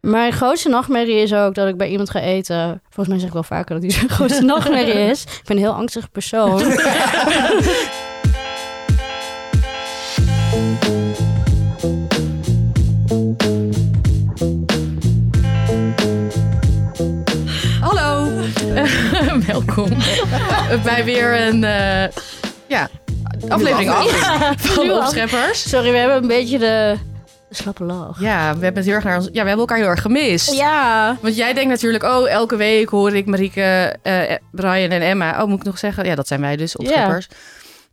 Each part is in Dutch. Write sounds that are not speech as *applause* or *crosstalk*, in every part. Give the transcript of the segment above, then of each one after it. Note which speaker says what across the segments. Speaker 1: Mijn grootste nachtmerrie is ook dat ik bij iemand ga eten. Volgens mij zeg ik wel vaker dat die zijn
Speaker 2: *laughs*
Speaker 1: grootste nachtmerrie is. Ik ben een heel angstig persoon.
Speaker 2: Hallo, *laughs* welkom bij weer een eh, ja, aflevering af van
Speaker 1: nu al.
Speaker 2: Opscheppers.
Speaker 1: Sorry, we hebben een beetje de, de slappe lach.
Speaker 2: Ja, we hebben het heel erg naar ons, ja, we hebben elkaar heel erg gemist.
Speaker 1: Ja.
Speaker 2: Want jij denkt natuurlijk, oh, elke week hoor ik Marieke, eh, Brian en Emma. Oh, moet ik nog zeggen? Ja, dat zijn wij dus, opscheppers.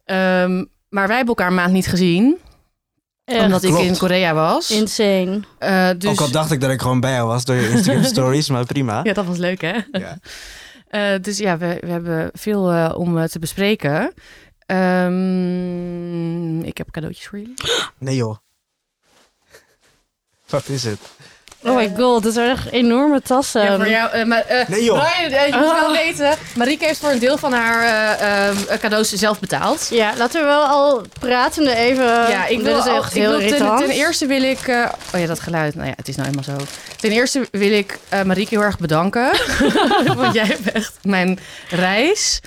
Speaker 2: Ehm, maar wij hebben elkaar een maand niet gezien,
Speaker 1: Echt
Speaker 2: omdat ik
Speaker 3: Klopt.
Speaker 2: in Korea was.
Speaker 1: insane.
Speaker 2: Eh, dus...
Speaker 3: Ook al dacht ik dat ik gewoon bij jou was door je
Speaker 1: *laughs*
Speaker 3: Instagram stories, maar prima.
Speaker 2: Ja, dat was leuk, hè?
Speaker 3: Ja.
Speaker 2: Eh, dus ja, we, we hebben veel eh, om eh, te bespreken. Ehm, ik heb cadeautjes voor jullie.
Speaker 3: Nee joh. Wat is het?
Speaker 1: Oh my god, dat zijn echt enorme tassen.
Speaker 2: Ja, voor jou. eh, maar, eh,
Speaker 3: Nee, joh.
Speaker 2: Brian, eh, je moet
Speaker 1: Oh.
Speaker 2: wel weten. Marieke heeft voor een deel van haar eh, ehm, cadeaus zelf betaald.
Speaker 1: Ja, laten we wel al pratende even...
Speaker 2: Ja, ik wil,
Speaker 1: Dit is
Speaker 2: al-
Speaker 1: echt
Speaker 2: ik
Speaker 1: heel
Speaker 2: wil ten,
Speaker 1: irritant.
Speaker 2: ten eerste wil ik... eh, oh ja, dat geluid. Nou ja, het is nou eenmaal zo. Ten eerste wil ik eh Marieke heel erg *laughs* bedanken. want jij hebt echt mijn reis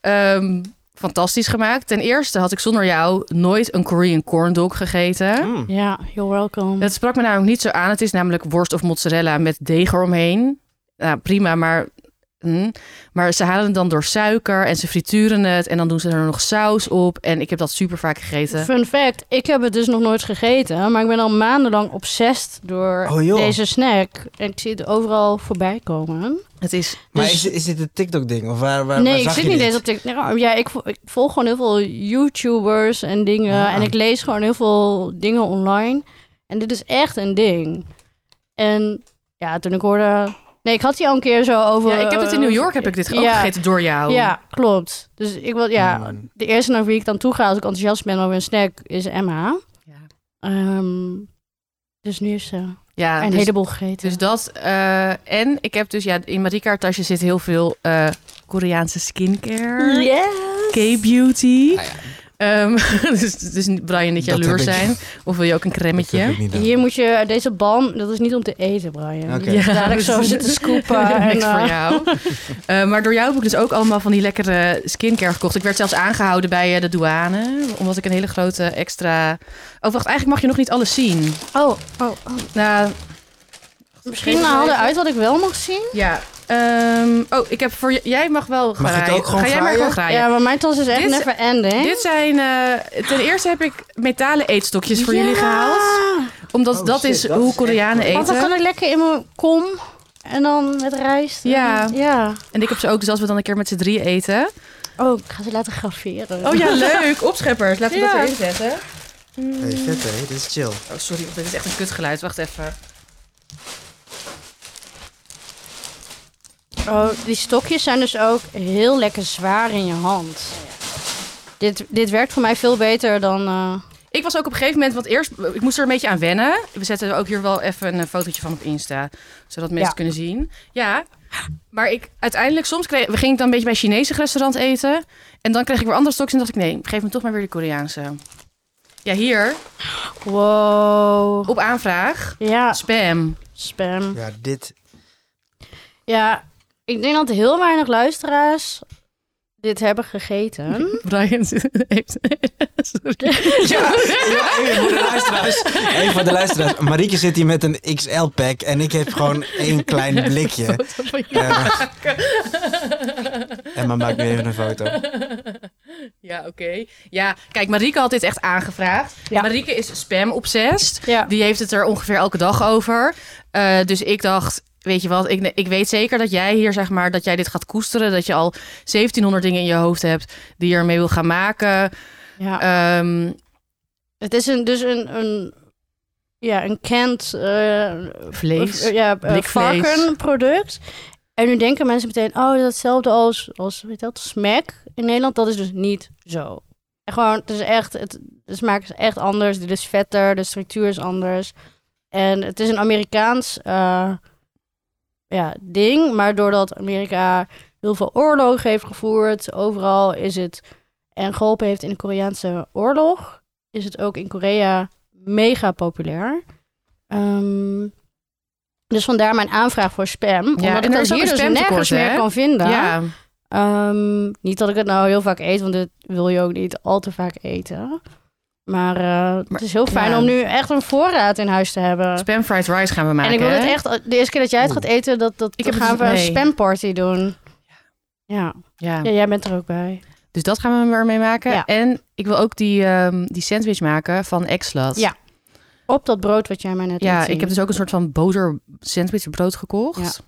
Speaker 2: ehm, fantastisch gemaakt. Ten eerste had ik zonder jou nooit een Korean corn dog gegeten.
Speaker 3: Mm.
Speaker 1: Ja, you're welcome.
Speaker 2: Het sprak me namelijk niet zo aan. Het is namelijk worst of mozzarella met deeg eromheen. Nou, prima, maar... hm. Maar ze halen het dan door suiker en ze frituren het. En dan doen ze er nog saus op. En ik heb dat super vaak gegeten.
Speaker 1: Fun fact, ik heb het dus nog nooit gegeten, maar ik ben al maandenlang obsessed door
Speaker 3: Oh, joh.
Speaker 1: deze snack. En ik zie het overal voorbij komen.
Speaker 2: Het is
Speaker 3: Maar
Speaker 1: Dus-
Speaker 3: is, is dit een TikTok ding? Of waar, waar, waar
Speaker 1: nee, ik
Speaker 3: zag
Speaker 1: zit
Speaker 3: je
Speaker 1: niet
Speaker 3: dit?
Speaker 1: eens op TikTok. Nou, ja, ik, vo- ik volg gewoon heel veel YouTubers en dingen.
Speaker 3: Ah.
Speaker 1: En ik lees gewoon heel veel dingen online. En dit is echt een ding. En ja, toen ik hoorde... Nee, ik had die al een keer zo over...
Speaker 2: Ja, ik heb het in New York heb ik dit ook
Speaker 1: Ja.
Speaker 2: gegeten Oh. door jou.
Speaker 1: Ja, klopt. Dus ik wil, ja,
Speaker 3: Mm.
Speaker 1: de eerste naar wie ik dan toe ga als ik enthousiast ben over een snack is Emma.
Speaker 2: Ja.
Speaker 1: Ehm, dus nu is ze...
Speaker 2: Ja,
Speaker 1: een
Speaker 2: dus,
Speaker 1: heleboel gegeten.
Speaker 2: dus dat. eh, en ik heb dus, ja, in Marika haar tasje zit heel veel eh, Koreaanse skincare. K-beauty.
Speaker 3: Ah,
Speaker 2: Ehm, *laughs* dus, dus Brian, niet
Speaker 3: Dat
Speaker 2: jaloers
Speaker 3: heb ik-
Speaker 2: zijn. Of wil je ook een
Speaker 3: Dat heb
Speaker 2: cremmetje?
Speaker 3: ik niet gedaan.
Speaker 1: Hier moet je deze balm, dat is niet om te eten, Brian.
Speaker 3: Oké.
Speaker 1: Je moet Dadelijk
Speaker 2: *laughs*
Speaker 1: zo zitten scoepen. en,
Speaker 2: Niks voor
Speaker 1: eh,
Speaker 2: jou. *laughs* Eh, maar door jou heb ik dus ook allemaal van die lekkere skincare gekocht. Ik werd zelfs aangehouden bij eh, de douane. Omdat ik een hele grote extra... Oh, wacht. Eigenlijk mag je nog niet alles zien.
Speaker 1: Oh, oh, oh.
Speaker 2: Nou,
Speaker 1: misschien haalde uit wat ik wel mag zien.
Speaker 2: Ja. ehm, oh, ik heb voor j- jij mag wel
Speaker 3: Mag ik
Speaker 2: graaien.
Speaker 3: ook gewoon
Speaker 2: Ga jij maar
Speaker 3: graaien?
Speaker 2: gewoon graaien.
Speaker 1: Nou Ja, maar mijn tas is echt
Speaker 2: Dit-
Speaker 1: never ending.
Speaker 2: Dit zijn eh, ten eerste heb ik metalen eetstokjes voor
Speaker 1: Ja!
Speaker 2: jullie gehaald, omdat
Speaker 3: Oh,
Speaker 2: dat
Speaker 3: shit,
Speaker 2: is
Speaker 3: dat is
Speaker 2: hoe
Speaker 3: echt
Speaker 2: Koreanen
Speaker 1: Want dan
Speaker 2: eten.
Speaker 1: kan ik lekker in mijn kom en dan met rijst. en-
Speaker 2: Ja.
Speaker 1: ja.
Speaker 2: En ik heb ze ook, dus als we dan een keer met z'n drieën eten.
Speaker 1: Oh, ik ga ze laten graveren.
Speaker 2: Oh ja, leuk, opscheppers. Laten we
Speaker 1: Ja.
Speaker 2: dat erin zetten.
Speaker 3: Hey, vet hè, dit is chill.
Speaker 2: Oh sorry, dit is echt een kutgeluid. Wacht even.
Speaker 1: Oh, die stokjes zijn dus ook heel lekker zwaar in je hand. Dit, dit werkt voor mij veel beter dan... eh,
Speaker 2: Ik was ook op een gegeven moment, want eerst, ik moest er een beetje aan wennen. We zetten ook hier wel even een eh, fotootje van op Insta, zodat mensen
Speaker 1: Ja.
Speaker 2: het kunnen zien. Ja, maar ik uiteindelijk, soms kreeg, we gingen dan een beetje bij een Chinese restaurant eten. En dan kreeg ik weer andere stokjes en dacht ik, nee, geef me toch maar weer de Koreaanse. Ja, hier,
Speaker 1: wow.
Speaker 2: op aanvraag,
Speaker 1: Ja,
Speaker 2: spam.
Speaker 1: spam.
Speaker 3: Ja, dit.
Speaker 1: Ja, ik denk dat heel weinig luisteraars dit hebben gegeten.
Speaker 2: *laughs* Brian *laughs* heeft... Sorry.
Speaker 3: Ja, ja, voor de luisteraars. *laughs* Hey, voor de luisteraars. Marieke zit hier met een XL-pack en ik heb gewoon één klein
Speaker 2: *laughs*
Speaker 3: blikje.
Speaker 1: *laughs*
Speaker 3: Eh, Emma maakt nu even een foto.
Speaker 2: *laughs* Ja, oké. Ja, kijk, Marieke had dit echt aangevraagd.
Speaker 1: Ja.
Speaker 2: Marieke is spam-obsessed.
Speaker 1: Ja.
Speaker 2: Die heeft het er ongeveer elke dag over. Eh, dus ik dacht, weet je wat, ik, ik weet zeker dat jij hier, zeg maar, dat jij dit gaat koesteren. Dat je al 1700 dingen in je hoofd hebt die je ermee wil gaan maken.
Speaker 1: Ja.
Speaker 2: Ehm,
Speaker 1: het is een, dus een, een, ja, een canned eh,
Speaker 2: vlees.
Speaker 1: eh, ja, eh,
Speaker 2: blikvlees.
Speaker 1: varkenproduct. En nu denken mensen meteen, oh, dat is hetzelfde als, als weet je dat, smack in Nederland. Dat is dus niet zo. En gewoon, het is echt, het, de smaak is echt anders. Dit is vetter, de structuur is anders. En het is een Amerikaans eh, ja, ding. Maar doordat Amerika heel veel oorlogen heeft gevoerd, overal is het... En geholpen heeft in de Koreaanse oorlog, is het ook in Korea mega populair. Ehm, Dus vandaar mijn aanvraag voor spam.
Speaker 2: en
Speaker 1: omdat ik
Speaker 2: er
Speaker 1: dat
Speaker 2: is ook
Speaker 1: hier
Speaker 2: een
Speaker 1: dus
Speaker 2: spamtekort,
Speaker 1: nergens
Speaker 2: hè?
Speaker 1: meer kan vinden.
Speaker 2: Ja.
Speaker 1: Ehm, niet dat ik het nou heel vaak eet, want dit wil je ook niet al te vaak eten. Maar, eh, het is heel fijn
Speaker 2: ja.
Speaker 1: om nu echt een voorraad in huis te hebben.
Speaker 2: Spam fried rice gaan we maken.
Speaker 1: en ik wil
Speaker 2: hè?
Speaker 1: het echt, de eerste keer dat jij het gaat eten, dat, dat
Speaker 2: Ik heb
Speaker 1: gaan
Speaker 2: het-
Speaker 1: we een
Speaker 2: nee.
Speaker 1: spamparty doen. Ja.
Speaker 2: Ja.
Speaker 1: ja, jij bent er ook bij.
Speaker 2: Dus dat gaan we ermee maken.
Speaker 1: Ja.
Speaker 2: En ik wil ook die, ehm, die sandwich maken van Exlat.
Speaker 1: Ja. Op dat brood wat jij mij net
Speaker 2: Ja,
Speaker 1: liet zien.
Speaker 2: ik heb dus ook een soort van boter sandwichbrood gekocht.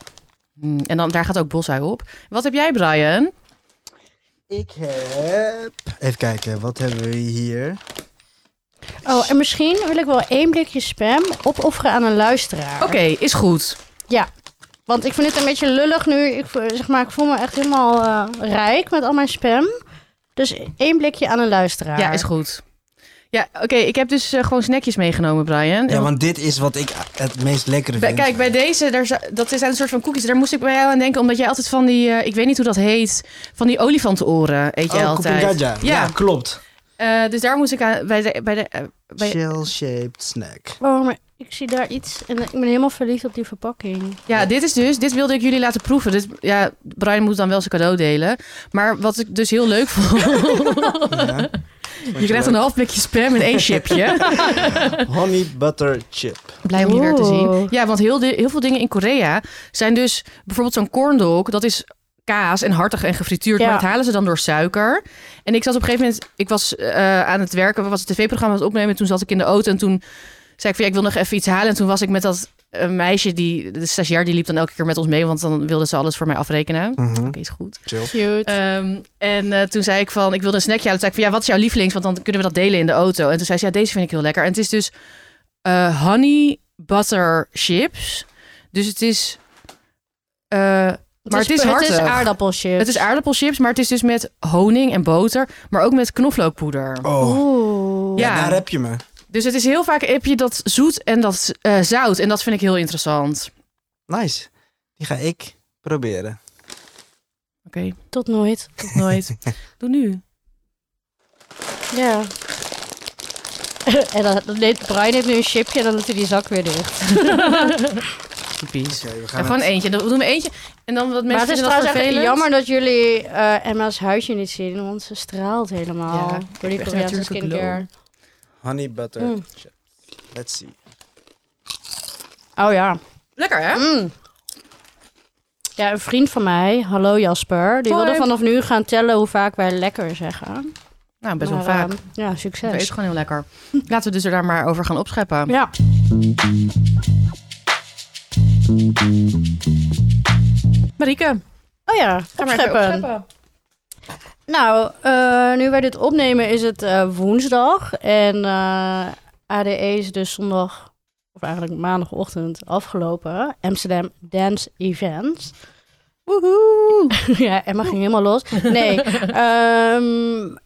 Speaker 2: Mm, En dan, daar gaat ook bosui op. Wat heb jij, Brian?
Speaker 3: Ik heb... Even kijken, wat hebben we hier?
Speaker 1: Oh, en misschien wil ik wel één blikje spam opofferen aan een luisteraar.
Speaker 2: Oké, is goed.
Speaker 1: Want ik vind het een beetje lullig nu. Ik, vo- zeg maar, ik voel me echt helemaal eh, rijk met al mijn spam. Dus één blikje aan een luisteraar.
Speaker 2: Ja, is goed. Ja, oké, ik heb dus eh, gewoon snackjes meegenomen, Brian.
Speaker 3: Ja, want dit is wat ik het meest lekkere
Speaker 2: Bij-
Speaker 3: vind.
Speaker 2: kijk, bij deze, daar, za- dat zijn een soort van koekjes. Daar moest ik bij jou aan denken, omdat jij altijd van die, eh, ik weet niet hoe dat heet, van die olifantenoren eet je
Speaker 3: Oh,
Speaker 2: altijd.
Speaker 3: Kupingaja.
Speaker 2: Ja,
Speaker 3: ja, klopt.
Speaker 2: eh, dus daar moest ik aan, bij de, bij de, eh, bij,
Speaker 3: Shell-shaped
Speaker 1: *laughs*
Speaker 3: snack.
Speaker 1: Oh, maar ik zie daar iets. En ik ben helemaal verliefd op die verpakking.
Speaker 2: Ja, dit is dus, dit wilde ik jullie laten proeven. Dit, ja, Brian moet dan wel zijn cadeau delen. Maar wat ik dus heel leuk vond.
Speaker 3: Ja.
Speaker 2: *laughs* je krijgt een half blikje spam en één chipje.
Speaker 3: Honey butter chip.
Speaker 2: Blij om die weer te zien.
Speaker 1: Oeh.
Speaker 2: Ja, want heel, di- heel veel dingen in Korea zijn dus bijvoorbeeld zo'n corndog. Dat is kaas en hartig en gefrituurd.
Speaker 1: Ja.
Speaker 2: Maar dat halen ze dan door suiker. En ik zat op een gegeven moment, ik was eh, aan het werken, was het tv-programma aan het opnemen. Toen zat ik in de auto en toen zei ik van ja, ik wil nog even iets halen. En toen was ik met dat eh, meisje, die, de stagiair, die liep dan elke keer met ons mee. Want dan wilde ze alles voor mij afrekenen. Oké,
Speaker 3: Mhm,
Speaker 2: is goed.
Speaker 3: chill.
Speaker 1: Cute.
Speaker 2: Ehm, en eh, toen zei ik van, ik wilde een snackje halen. Toen zei ik van, ja, wat is jouw lievelings? Want dan kunnen we dat delen in de auto. En toen zei ze, ja, deze vind ik heel lekker. En het is dus eh, honey butter chips. Dus het is... eh, maar het is
Speaker 1: Het is
Speaker 2: hartig.
Speaker 1: aardappelchips.
Speaker 2: het is aardappelchips, maar het is dus met honing en boter. Maar ook met knoflookpoeder.
Speaker 3: Oh,
Speaker 1: Oeh.
Speaker 2: Ja.
Speaker 3: ja. daar heb je me.
Speaker 2: Dus het is heel vaak, heb je dat zoet en dat eh, zout. En dat vind ik heel interessant.
Speaker 3: Nice. Die ga ik proberen.
Speaker 2: Oké,
Speaker 1: Tot nooit.
Speaker 2: tot
Speaker 3: *laughs*
Speaker 2: nooit. Doe nu.
Speaker 1: Ja. *laughs* en dan, dan neemt Brian heeft nu een chipje en dan doet hij die zak weer dicht.
Speaker 2: *laughs* Typisch.
Speaker 3: Oké, we gaan
Speaker 2: Ja, gewoon
Speaker 3: het-
Speaker 2: eentje. Dan doen we eentje. En dan wat mensen
Speaker 1: maar het is
Speaker 2: vinden dat
Speaker 1: trouwens echt
Speaker 2: vervelend.
Speaker 1: jammer dat jullie eh, Emma's huisje niet zien, want ze straalt helemaal
Speaker 2: Ja,
Speaker 1: door die
Speaker 2: echt
Speaker 1: Koreaanse
Speaker 2: natuurlijk een
Speaker 1: skincare.
Speaker 3: e- Honey butter
Speaker 1: Mm.
Speaker 3: chip. Let's see.
Speaker 1: Oh ja.
Speaker 2: Lekker, hè?
Speaker 1: Mm. Ja, een vriend van mij, hallo Jasper, die
Speaker 2: Hoi.
Speaker 1: wilde vanaf nu gaan tellen hoe vaak wij lekker zeggen.
Speaker 2: Nou, best wel
Speaker 1: Maar,
Speaker 2: vaak.
Speaker 1: ehm, ja,
Speaker 2: Het
Speaker 1: succes.
Speaker 2: is gewoon heel lekker. Laten we dus er daar maar over gaan opscheppen.
Speaker 1: Ja.
Speaker 2: Marieke,
Speaker 1: Oh ja, opscheppen. Nou, eh, nu wij dit opnemen is het eh, woensdag. En eh, ADE is dus zondag, of eigenlijk maandagochtend, afgelopen. Amsterdam Dance Event. Woehoe! *laughs* ja, Emma ging helemaal los. Nee. ehm,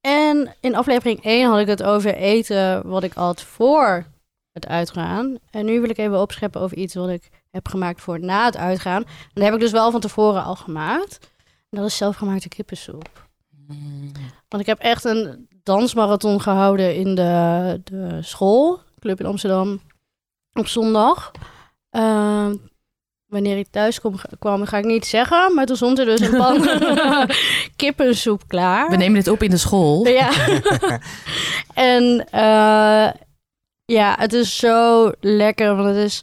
Speaker 1: en in aflevering 1 had ik het over eten wat ik had voor het uitgaan. En nu wil ik even opscheppen over iets wat ik heb gemaakt voor na het uitgaan. En dat heb ik dus wel van tevoren al gemaakt. En dat is zelfgemaakte kippensoep. Want ik heb echt een dansmarathon gehouden in de, de school, club in Amsterdam, op zondag. Ehm, wanneer ik thuis kom, kwam, ga ik niet zeggen, maar toen stond er dus een pan *laughs* kippensoep klaar.
Speaker 2: We nemen dit op in de school.
Speaker 1: Ja. en eh, ja, het is zo lekker, want het is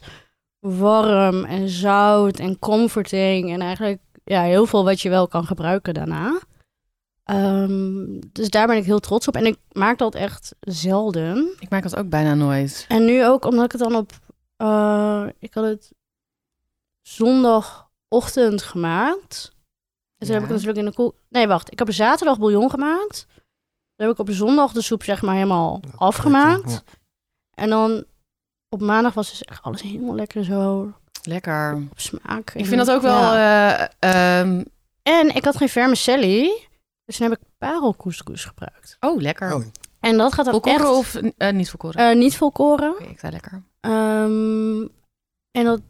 Speaker 1: warm en zout en comforting en eigenlijk ja, heel veel wat je wel kan gebruiken daarna. Ehm, dus daar ben ik heel trots op en ik maak dat echt zelden.
Speaker 2: Ik maak dat ook bijna nooit.
Speaker 1: En nu ook omdat ik het dan op. eh, ik had het zondagochtend gemaakt. En toen
Speaker 2: Ja.
Speaker 1: heb ik het natuurlijk in de koel. Nee, wacht. Ik heb er zaterdag bouillon gemaakt. Dan heb ik op zondag de soep, zeg maar, helemaal afgemaakt.
Speaker 3: ja.
Speaker 1: En dan op maandag was dus echt alles helemaal lekker zo
Speaker 2: Lekker.
Speaker 1: op smaak.
Speaker 2: Ik vind dat ook wel...
Speaker 1: Ja.
Speaker 2: eh, ehm,
Speaker 1: En ik had geen vermicelli. Dus toen heb ik parelcouscous gebruikt.
Speaker 2: oh, lekker.
Speaker 3: Oh,
Speaker 1: En dat gaat dan
Speaker 2: volkoren
Speaker 1: echt
Speaker 2: of eh, niet volkoren?
Speaker 1: eh, niet volkoren.
Speaker 2: Oké, ik zei lekker.
Speaker 1: Ehm, en dat,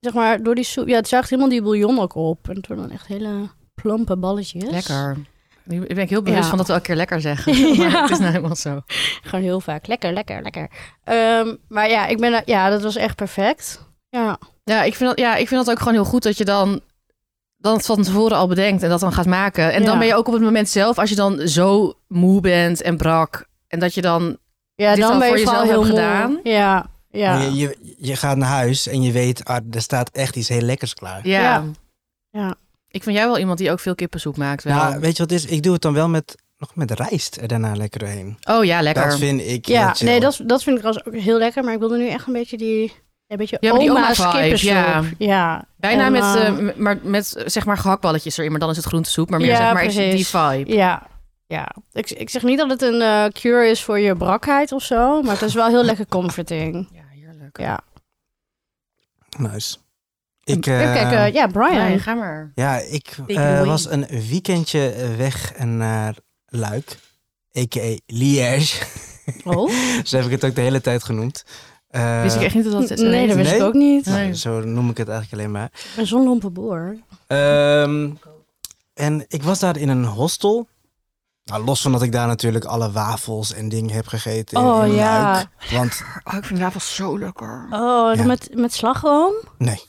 Speaker 1: zeg maar, door die soep... Ja, het zuigt helemaal die bouillon ook op. En toen dan echt hele plompe balletjes.
Speaker 2: Lekker. Nu ben ik heel bewust
Speaker 1: Ja.
Speaker 2: van dat we elke keer lekker
Speaker 1: *laughs*
Speaker 2: zeggen. Maar
Speaker 1: Ja.
Speaker 2: het is nou helemaal zo.
Speaker 1: Gewoon heel vaak. Lekker, lekker, lekker. Ehm, maar ja, ik ben, daar- ja, dat was echt perfect. Ja.
Speaker 2: Ja ik, vind dat, ja, ik vind dat ook gewoon heel goed dat je dan dat van tevoren al bedenkt en dat dan gaat maken. En
Speaker 1: Ja.
Speaker 2: dan ben je ook op het moment zelf, als je dan zo moe bent en brak. En dat je dan.
Speaker 1: Ja,
Speaker 2: Dit
Speaker 1: dan
Speaker 2: al
Speaker 1: ben
Speaker 2: voor
Speaker 1: je vooral
Speaker 2: jezelf
Speaker 1: heel
Speaker 2: hebt
Speaker 1: moe.
Speaker 2: gedaan?
Speaker 1: Ja, ja.
Speaker 3: Oh, Je, je, je gaat naar huis en je weet, ah, er staat echt iets heel lekkers klaar.
Speaker 2: Ja.
Speaker 1: Ja. Ja.
Speaker 2: Ik vind jij wel iemand die ook veel kippensoep maakt. Wel.
Speaker 3: Nou, weet je wat het is? Ik doe het dan wel met, nog met rijst er daarna lekker doorheen.
Speaker 2: oh ja, lekker.
Speaker 3: Dat vind ik heel
Speaker 1: Ja,
Speaker 3: chill.
Speaker 1: nee, dat, is- dat vind ik trouwens ook heel lekker. Maar ik wilde nu echt een beetje die... Een beetje
Speaker 2: Ja, maar die
Speaker 1: oma's
Speaker 2: oma-vibe,
Speaker 1: kippensoep.
Speaker 2: ja.
Speaker 1: ja.
Speaker 2: Bijna
Speaker 1: En,
Speaker 2: met,
Speaker 1: eh,
Speaker 2: eh, m- maar met eh, zeg maar gehaktballetjes erin, maar dan is het groentesoep. Maar meer
Speaker 1: Ja,
Speaker 2: zeg maar is
Speaker 1: precies.
Speaker 2: die vibe.
Speaker 1: Ja, ja. Ik, ik zeg niet dat het een eh, cure is voor je brakheid of zo, maar het is wel heel lekker comforting.
Speaker 2: Ja, heerlijk.
Speaker 1: Ja.
Speaker 3: Nice. Ik,
Speaker 1: Even
Speaker 3: eh,
Speaker 1: kijken, Oh ja, Brian.
Speaker 2: Brian, ga maar.
Speaker 3: Ja, ik
Speaker 2: Take
Speaker 3: eh,
Speaker 2: it away.
Speaker 3: was een weekendje weg naar Luik, a.k.a. Liège. *laughs*
Speaker 1: Oh? *laughs*
Speaker 3: Zo heb ik het ook de hele tijd genoemd. Eh,
Speaker 2: Wist ik echt niet dat dat zo
Speaker 1: Nee, dat
Speaker 2: heet.
Speaker 1: wist ik
Speaker 3: Nee?
Speaker 1: ook niet.
Speaker 2: Nee.
Speaker 3: nou, Zo noem ik het eigenlijk alleen maar.
Speaker 1: Een zonlompe boer.
Speaker 3: Ehm, en ik was daar in een hostel. Nou, los van dat ik daar natuurlijk alle wafels en dingen heb gegeten in-
Speaker 1: Oh,
Speaker 3: in
Speaker 1: ja.
Speaker 3: Luik. Want
Speaker 2: Oh, ik vind wafels zo lekker.
Speaker 1: Oh,
Speaker 3: Ja.
Speaker 1: met, met slagroom?
Speaker 3: nee,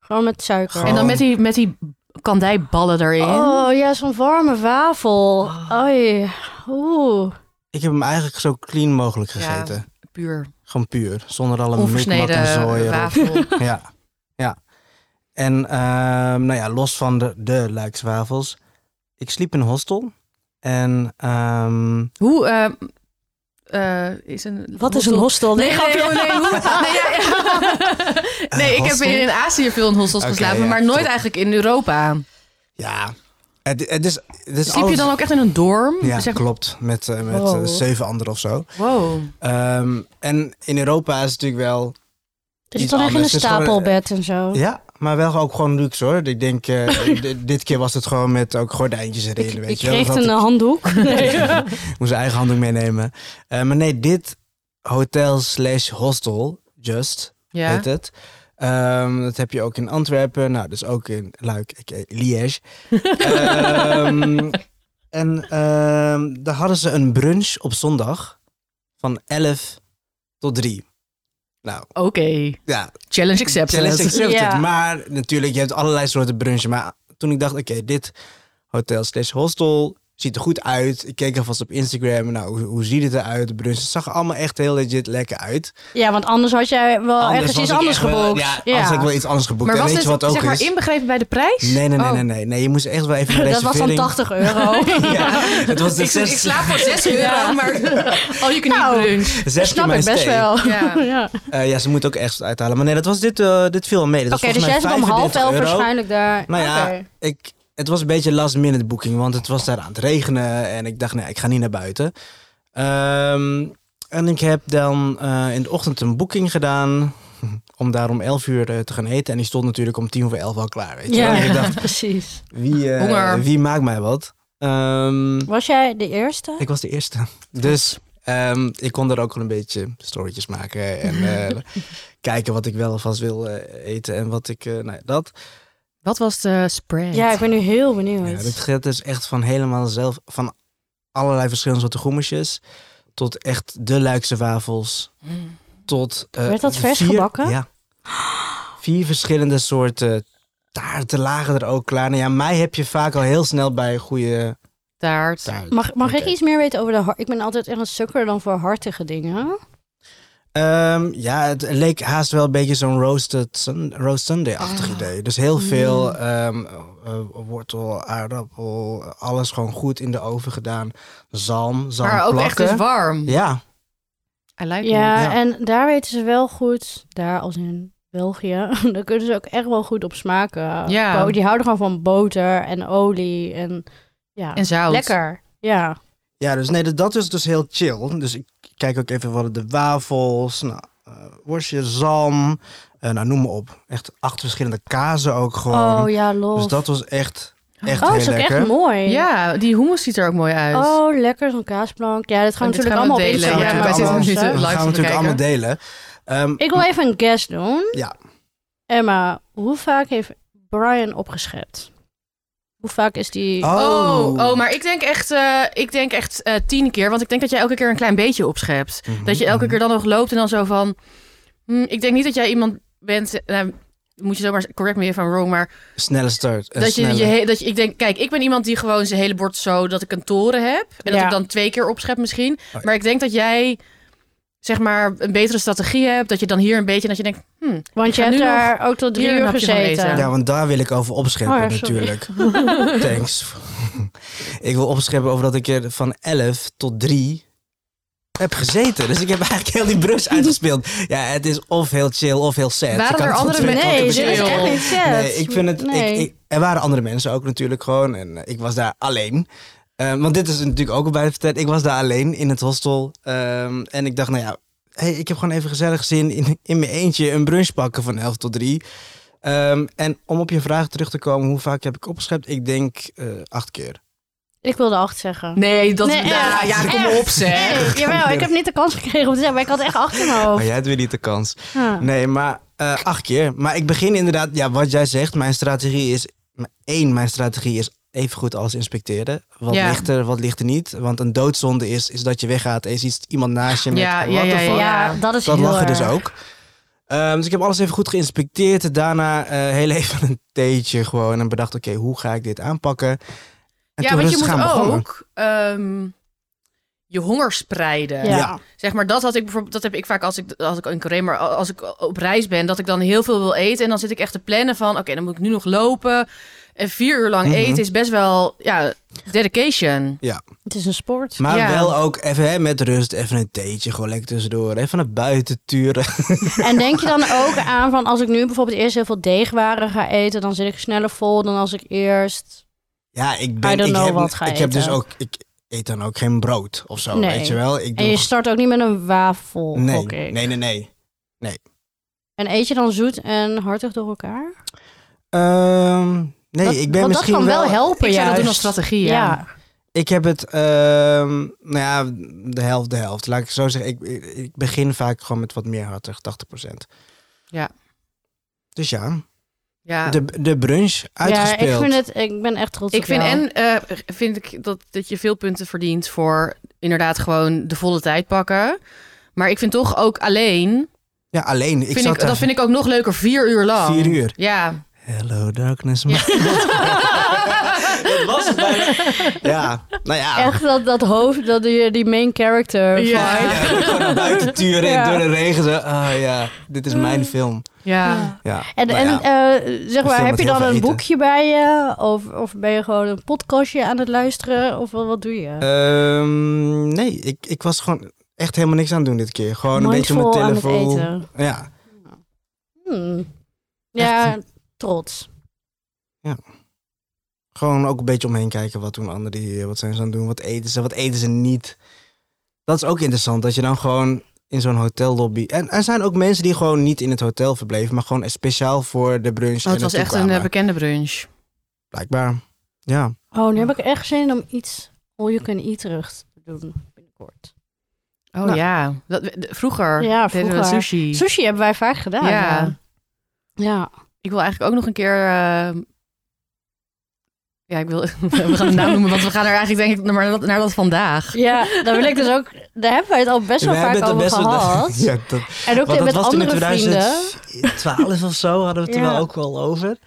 Speaker 1: Gewoon met suiker.
Speaker 3: Oh.
Speaker 2: En dan met die, met die kandijballen erin.
Speaker 1: Oh ja, zo'n warme wafel.
Speaker 3: Oh.
Speaker 1: Oei. Oeh.
Speaker 3: ik heb hem eigenlijk zo clean mogelijk
Speaker 2: Ja.
Speaker 3: gegeten.
Speaker 2: Puur
Speaker 3: Gewoon puur, zonder alle mikmak en
Speaker 2: onversneden
Speaker 3: zooi erop.
Speaker 2: wafel.
Speaker 3: *laughs* Ja, ja. En ehm, nou ja, los van de, de Luikswafels. Ik sliep in een hostel. En ehm,
Speaker 2: Hoe eh, eh, is een...
Speaker 1: Wat is een hostel?
Speaker 2: Nee, nee, nee, nee, hoe-
Speaker 1: *laughs*
Speaker 2: nee,
Speaker 3: *laughs*
Speaker 2: ja, ja. nee, ik heb
Speaker 3: Hostel?
Speaker 2: in Azië veel in hostels
Speaker 3: Oké,
Speaker 2: geslapen,
Speaker 3: ja,
Speaker 2: maar nooit
Speaker 3: top.
Speaker 2: eigenlijk in Europa.
Speaker 3: ja, het, het is... Het is
Speaker 2: Sliep je
Speaker 3: alles-
Speaker 2: dan ook echt in een dorm?
Speaker 3: Ja,
Speaker 2: Zeg- Oh.
Speaker 3: klopt. Met, eh, met
Speaker 1: Wow.
Speaker 3: eh, zeven anderen of zo.
Speaker 2: wow.
Speaker 3: Ehm, en in Europa is het natuurlijk wel...
Speaker 1: Is het
Speaker 3: Iets
Speaker 1: dan echt in een
Speaker 3: anders. Het is gewoon-
Speaker 1: stapelbed en zo?
Speaker 3: Ja, maar wel ook gewoon luxe hoor. Ik
Speaker 2: *laughs*
Speaker 3: denk, eh, di- dit keer was het gewoon met ook gordijntjes erin.
Speaker 1: Ik,
Speaker 3: weet
Speaker 1: ik
Speaker 3: je wel.
Speaker 1: kreeg
Speaker 3: Dat
Speaker 1: een
Speaker 2: *laughs*
Speaker 1: eh,
Speaker 3: had
Speaker 1: handdoek. Nee.
Speaker 3: *laughs* ik moest zijn eigen handdoek meenemen. Eh, maar nee, dit hotel slash hostel, just,
Speaker 2: Ja.
Speaker 3: heet het. Ehm, dat heb je ook in Antwerpen. Nou, dus ook in Luik, a.k.a.
Speaker 2: *laughs*
Speaker 3: Liège. Ehm, en ehm, daar hadden ze een brunch op zondag van 11 tot 3. Nou,
Speaker 2: Oké.
Speaker 3: ja,
Speaker 2: Challenge accepted.
Speaker 3: challenge accepted.
Speaker 1: Ja.
Speaker 3: Maar natuurlijk, je hebt allerlei soorten brunchen. Maar toen ik dacht, oké, dit hotel slash hostel ziet er goed uit. Ik keek alvast op Instagram. Nou, hoe, hoe ziet het eruit, de brunch? Het zag er allemaal echt heel legit lekker uit.
Speaker 1: *laughs* Ja, want anders had jij wel Oh, ergens
Speaker 3: was
Speaker 1: iets
Speaker 3: ik
Speaker 1: anders
Speaker 3: echt wel-
Speaker 1: geboekt.
Speaker 3: ja,
Speaker 1: Ja.
Speaker 3: als ik wel iets anders geboekt.
Speaker 2: Maar
Speaker 3: en
Speaker 2: was
Speaker 3: weet
Speaker 2: dit
Speaker 3: je wat ook
Speaker 2: zeg maar
Speaker 3: is?
Speaker 2: inbegrepen bij de prijs?
Speaker 3: Nee, nee, nee,
Speaker 2: Oh.
Speaker 3: nee, nee, nee. Je moest echt wel even
Speaker 1: *laughs* *laughs*
Speaker 3: een
Speaker 1: Dat was dan
Speaker 3: reservering...
Speaker 1: 80 euro.
Speaker 3: *laughs*
Speaker 2: *laughs*
Speaker 3: Ja,
Speaker 1: *laughs*
Speaker 3: het was de
Speaker 2: Ik, ik
Speaker 3: zes,
Speaker 2: slaap voor
Speaker 3: *laughs*
Speaker 2: 6 euro,
Speaker 1: Ja.
Speaker 2: maar... Oh, je kunt
Speaker 1: Nou.
Speaker 2: niet brunch.
Speaker 1: Ik
Speaker 3: zes
Speaker 1: snap
Speaker 3: keer
Speaker 1: het
Speaker 3: mijn
Speaker 1: best
Speaker 3: stay.
Speaker 1: wel.
Speaker 2: Ja.
Speaker 1: Ja.
Speaker 3: Eh, *laughs* ja, ze moet ook echt uithalen. Maar nee, dat was dit, eh, dit viel wel mee. Dat
Speaker 1: Oké,
Speaker 3: was
Speaker 1: dus jij
Speaker 3: volgens
Speaker 1: zit
Speaker 3: mij
Speaker 1: om half
Speaker 3: 35
Speaker 1: elf
Speaker 3: euro.
Speaker 1: waarschijnlijk daar.
Speaker 3: Nou ja,
Speaker 1: Oké.
Speaker 3: Ik, het was een beetje last minute boeking, want het was daar aan het regenen. En ik dacht, nee, ik ga niet naar buiten. Ehm, en ik heb dan eh, in de ochtend een boeking gedaan *laughs* om daar om 11 uur eh, te gaan eten. En die stond natuurlijk om tien voor 11 al klaar. Weet je wel. En ik dacht,
Speaker 1: *laughs* precies.
Speaker 3: Wie, eh,
Speaker 2: Honger.
Speaker 3: wie maakt mij wat? Ehm,
Speaker 1: Was jij de eerste?
Speaker 3: ik was de eerste. Dus ehm, ik kon daar ook wel een beetje storytjes maken. En eh,
Speaker 1: *laughs*
Speaker 3: kijken wat ik wel vast wil eh, eten. En wat ik, eh, nou ja, dat.
Speaker 2: Wat was de spread?
Speaker 1: Ja, ik ben nu heel benieuwd.
Speaker 3: Ja, dit gaat dus echt van helemaal zelf, van allerlei verschillende soorten groemetjes. Tot echt de luikse wafels. Tot, eh,
Speaker 1: Werd dat vers
Speaker 3: vier-
Speaker 1: gebakken?
Speaker 3: Ja. Vier verschillende soorten taarten lagen er ook klaar. Nou ja, mij heb je vaak al heel snel bij goede
Speaker 2: Taart.
Speaker 3: taart.
Speaker 1: Mag, mag ik
Speaker 3: Oké.
Speaker 1: iets meer weten over de hart? Ik ben altijd echt een sukker dan voor hartige dingen.
Speaker 3: Ehm, ja, het leek haast wel een beetje zo'n roasted sun, roast Sunday-achtig idee. Dus heel veel ehm, eh, wortel, aardappel, alles gewoon goed in de oven gedaan. Zalm, zalm
Speaker 2: Maar ook echt
Speaker 3: plakken.
Speaker 2: dus warm.
Speaker 3: Ja,
Speaker 2: I like it.
Speaker 1: Ja,
Speaker 3: Ja.
Speaker 1: en daar weten ze wel goed, daar als in België, *laughs* daar kunnen ze ook echt wel goed op smaken.
Speaker 2: Ja.
Speaker 1: Bo- Die houden gewoon van boter en olie en ja,
Speaker 2: En zout.
Speaker 1: lekker. Ja.
Speaker 3: ja dus nee, dat- dat is dus heel chill. Dus ik kijk ook even wat de wafels, nou, eh, worstje, zalm, eh, nou noem maar op. Echt acht verschillende kazen ook gewoon.
Speaker 1: Oh ja, los.
Speaker 3: dus dat was echt, echt
Speaker 1: oh,
Speaker 3: heel
Speaker 1: is ook
Speaker 3: lekker.
Speaker 1: echt mooi.
Speaker 2: Ja, die hummus ziet er ook mooi uit.
Speaker 1: Oh, lekker, zo'n kaasplank. Ja, dit gaan we
Speaker 2: Oh, Dit
Speaker 1: natuurlijk
Speaker 2: gaan we
Speaker 1: allemaal op
Speaker 2: delen.
Speaker 3: Dat gaan we
Speaker 1: Instagram.
Speaker 2: Ja, wij
Speaker 3: natuurlijk
Speaker 2: zitten
Speaker 3: allemaal-
Speaker 2: nu te live
Speaker 3: dat gaan
Speaker 2: te
Speaker 3: we natuurlijk allemaal delen. Ehm,
Speaker 1: Ik wil even een guess doen.
Speaker 3: Ja.
Speaker 1: Emma, hoe vaak heeft Brian opgeschept? Hoe vaak is die...
Speaker 2: Oh, oh, maar ik denk echt, eh, ik denk echt eh, tien keer. Want ik denk dat jij elke keer een klein beetje opschept.
Speaker 3: Mhm,
Speaker 2: Dat je elke
Speaker 3: mhm.
Speaker 2: keer dan nog loopt en dan zo van... "Hmm, hm, ik denk niet dat jij iemand bent... Nou, moet je zomaar correct me if I'm wrong, maar
Speaker 3: Snelle start. en
Speaker 2: dat je,
Speaker 3: snelle-
Speaker 2: je he- dat je, ik denk, kijk, ik ben iemand die gewoon zijn hele bord zo dat ik een toren heb en dat
Speaker 1: Ja.
Speaker 2: ik dan twee keer opschep misschien.
Speaker 3: ja.
Speaker 2: Maar ik denk dat jij zeg maar een betere strategie hebt, dat je dan hier een beetje dat je denkt, hmm,
Speaker 1: Want je
Speaker 2: ga
Speaker 1: hebt
Speaker 2: nu
Speaker 1: daar ook tot drie
Speaker 2: hier een
Speaker 1: uur
Speaker 2: hapje van eten.
Speaker 1: gezeten.
Speaker 2: Ja.
Speaker 3: Ja, want daar wil ik over opscheppen
Speaker 1: Oh ja, sorry.
Speaker 3: natuurlijk.
Speaker 1: *laughs*
Speaker 3: Thanks. *laughs* ik wil opscheppen over dat ik er van 11 tot 3 heb gezeten. Dus ik heb eigenlijk heel die
Speaker 1: *laughs*
Speaker 3: brus uitgespeeld. Ja, het is of heel chill of heel sad. Je
Speaker 2: Waren
Speaker 3: kan
Speaker 2: er
Speaker 3: het van
Speaker 2: andere
Speaker 3: twee
Speaker 2: mensen?
Speaker 3: kanten
Speaker 1: Nee, dit is echt
Speaker 3: bekijken.
Speaker 1: niet sad.
Speaker 3: Nee, ik vind het.
Speaker 1: Nee.
Speaker 3: Ik, ik, er waren andere mensen ook natuurlijk gewoon. En eh, ik was daar alleen. Eh, want dit is natuurlijk ook al bij verteld. Ik was daar alleen in het hostel. Ehm, en ik dacht, nou ja, hey, ik heb gewoon even gezellig zin in, in mijn eentje een brunch pakken van 11 tot 3. Ehm, en om op je vraag terug te komen, hoe vaak heb ik opgeschept? Ik denk eh, acht keer.
Speaker 1: Ik wilde acht zeggen.
Speaker 2: nee, dat
Speaker 1: Nee,
Speaker 2: ja,
Speaker 1: echt.
Speaker 2: ja, kom
Speaker 1: Echt.
Speaker 2: op zeg.
Speaker 1: Nee, jawel, ik heb niet de kans gekregen om te zeggen, maar ik had echt achter mijn
Speaker 3: Maar
Speaker 1: hoofd.
Speaker 3: jij hebt weer niet de kans.
Speaker 1: Ja.
Speaker 3: Nee, maar eh, acht keer. Maar ik begin inderdaad, ja, wat jij zegt, mijn strategie is... m- één, mijn strategie is even goed alles inspecteren. Wat
Speaker 2: Ja.
Speaker 3: ligt er, wat ligt er niet. Want een doodzonde is, is dat je weggaat en je ziet iemand naast je met...
Speaker 2: Ja,
Speaker 3: what
Speaker 2: ja,
Speaker 3: the
Speaker 2: ja,
Speaker 3: fuck?
Speaker 2: ja.
Speaker 1: Ja, dat is
Speaker 3: Dat
Speaker 1: heel
Speaker 3: lag er dus
Speaker 1: erg.
Speaker 3: ook. Ehm, dus ik heb alles even goed geïnspecteerd. Daarna eh, heel even een theetje gewoon. En bedacht, oké, hoe ga ik dit aanpakken? En
Speaker 2: Ja,
Speaker 3: toen
Speaker 2: want je
Speaker 3: rustig
Speaker 2: moet
Speaker 3: aan begonnen.
Speaker 2: ook ehm, je honger spreiden.
Speaker 1: Ja.
Speaker 3: Ja.
Speaker 2: Zeg maar, dat had ik bijvoorbeeld, dat heb ik vaak als ik, als ik in Korea, maar als ik op reis ben, dat ik dan heel veel wil eten. En dan zit ik echt te plannen van, oké, dan moet ik nu nog lopen. En vier uur lang
Speaker 3: Mhm.
Speaker 2: eten is best wel, ja, dedication.
Speaker 1: Het is een sport.
Speaker 3: Maar
Speaker 2: Ja.
Speaker 3: wel ook even hè, met rust, even een theetje, gewoon lekker tussendoor. Even naar buiten turen.
Speaker 1: En denk je dan ook aan van als ik nu bijvoorbeeld eerst heel veel deegwaren ga eten, dan zit ik sneller vol dan als ik eerst.
Speaker 3: Ja, ik ben.
Speaker 1: I don't
Speaker 3: ik
Speaker 1: know
Speaker 3: heb,
Speaker 1: wat ga
Speaker 3: ik heb dus
Speaker 1: eten.
Speaker 3: ook. Ik eet dan ook geen brood of zo.
Speaker 1: Nee.
Speaker 3: Weet je wel? Ik
Speaker 1: En je start ook niet met een wafel.
Speaker 3: nee,
Speaker 1: gok ik.
Speaker 3: nee, nee, nee.
Speaker 1: En eet je dan zoet en hartig door elkaar?
Speaker 3: Ehm, nee,
Speaker 1: Dat-
Speaker 3: ik ben
Speaker 1: want
Speaker 3: misschien
Speaker 1: dat kan wel,
Speaker 3: wel.
Speaker 1: helpen.
Speaker 2: Ik zou dat
Speaker 1: juist.
Speaker 2: doen als strategie, ja.
Speaker 1: Ja.
Speaker 3: ik heb het. ehm, nou ja, de helft, de helft. Laat ik het zo zeggen. Ik, ik- ik begin vaak gewoon met wat meer hartig, 80%.
Speaker 2: Ja.
Speaker 3: Dus ja,
Speaker 2: Ja.
Speaker 3: de, de brunch uitgespeeld.
Speaker 1: Ja, ik, vind het, ik ben echt trots
Speaker 2: ik
Speaker 1: op
Speaker 2: vind,
Speaker 1: jou.
Speaker 2: en eh, vind ik dat, dat je veel punten verdient voor inderdaad gewoon de volle tijd pakken. Maar ik vind toch ook alleen,
Speaker 3: Ja, alleen. Ik
Speaker 2: vind
Speaker 3: zat
Speaker 2: ik, dat vind ik ook nog leuker, vier uur lang.
Speaker 3: Vier uur.
Speaker 2: Ja.
Speaker 3: Hello darkness. man. dat was het bijna. *laughs* Ja, nou ja.
Speaker 1: Echt dat, dat hoofd, dat die, die main character.
Speaker 2: Ja.
Speaker 1: vibe.
Speaker 3: Ja, gewoon
Speaker 1: *laughs*
Speaker 3: naar buiten turen en
Speaker 1: Ja.
Speaker 3: door de regen. Zo, ah ja, dit is mijn film.
Speaker 2: Ja.
Speaker 3: Ja,
Speaker 1: En,
Speaker 3: nou
Speaker 1: en
Speaker 3: ja.
Speaker 1: eh, zeg maar,
Speaker 3: film
Speaker 1: heb
Speaker 3: met
Speaker 1: je
Speaker 3: heel
Speaker 1: dan
Speaker 3: veel
Speaker 1: een
Speaker 3: eten.
Speaker 1: boekje bij je? Of, of ben je gewoon een podcastje aan het luisteren? Of wat, wat doe je?
Speaker 3: Eh, Ehm, nee, ik, ik was gewoon echt helemaal niks aan het doen dit keer. Gewoon een
Speaker 1: Mindful
Speaker 3: beetje
Speaker 1: aan
Speaker 3: mijn
Speaker 1: het
Speaker 3: telefoon.
Speaker 1: eten.
Speaker 3: Ja,
Speaker 1: Hmm. Ja, trots.
Speaker 3: gewoon ook een beetje omheen kijken. Wat doen anderen hier? Wat zijn ze aan het doen? Wat eten ze? Wat eten ze niet? Dat is ook interessant, dat je dan gewoon in zo'n hotellobby... En er zijn ook mensen die gewoon niet in het hotel verbleven, maar gewoon speciaal voor de brunch
Speaker 2: Oh, het was
Speaker 3: en naartoe
Speaker 2: echt een eh,
Speaker 3: kwamen.
Speaker 2: bekende brunch.
Speaker 3: Blijkbaar, ja.
Speaker 1: Oh, nu heb ik echt zin om iets all you can eat terug te doen binnenkort.
Speaker 2: Oh
Speaker 3: Nou.
Speaker 2: ja, dat, de- vroeger
Speaker 1: Ja,
Speaker 2: deden we
Speaker 1: vroeger.
Speaker 2: sushi.
Speaker 1: Sushi hebben wij vaak gedaan.
Speaker 2: Ja.
Speaker 1: Ja. Ja.
Speaker 2: Ik wil eigenlijk ook nog een keer... eh, Ja, ik wil... *laughs* We gaan de naam noemen, want we gaan er eigenlijk denk ik naar dat, naar dat
Speaker 1: *laughs*
Speaker 2: vandaag.
Speaker 1: ja, daar wil ik dus ook. Daar hebben wij het al best wel
Speaker 3: Wij
Speaker 1: vaak
Speaker 3: hebben het
Speaker 1: over
Speaker 3: best wel-
Speaker 1: gehad.
Speaker 3: *laughs* Ja, dat,
Speaker 1: En ook
Speaker 3: Want dat
Speaker 1: met
Speaker 3: was toen in
Speaker 1: andere vrienden.
Speaker 3: 2012 of zo hadden we het er
Speaker 1: Ja.
Speaker 3: wel ook wel over.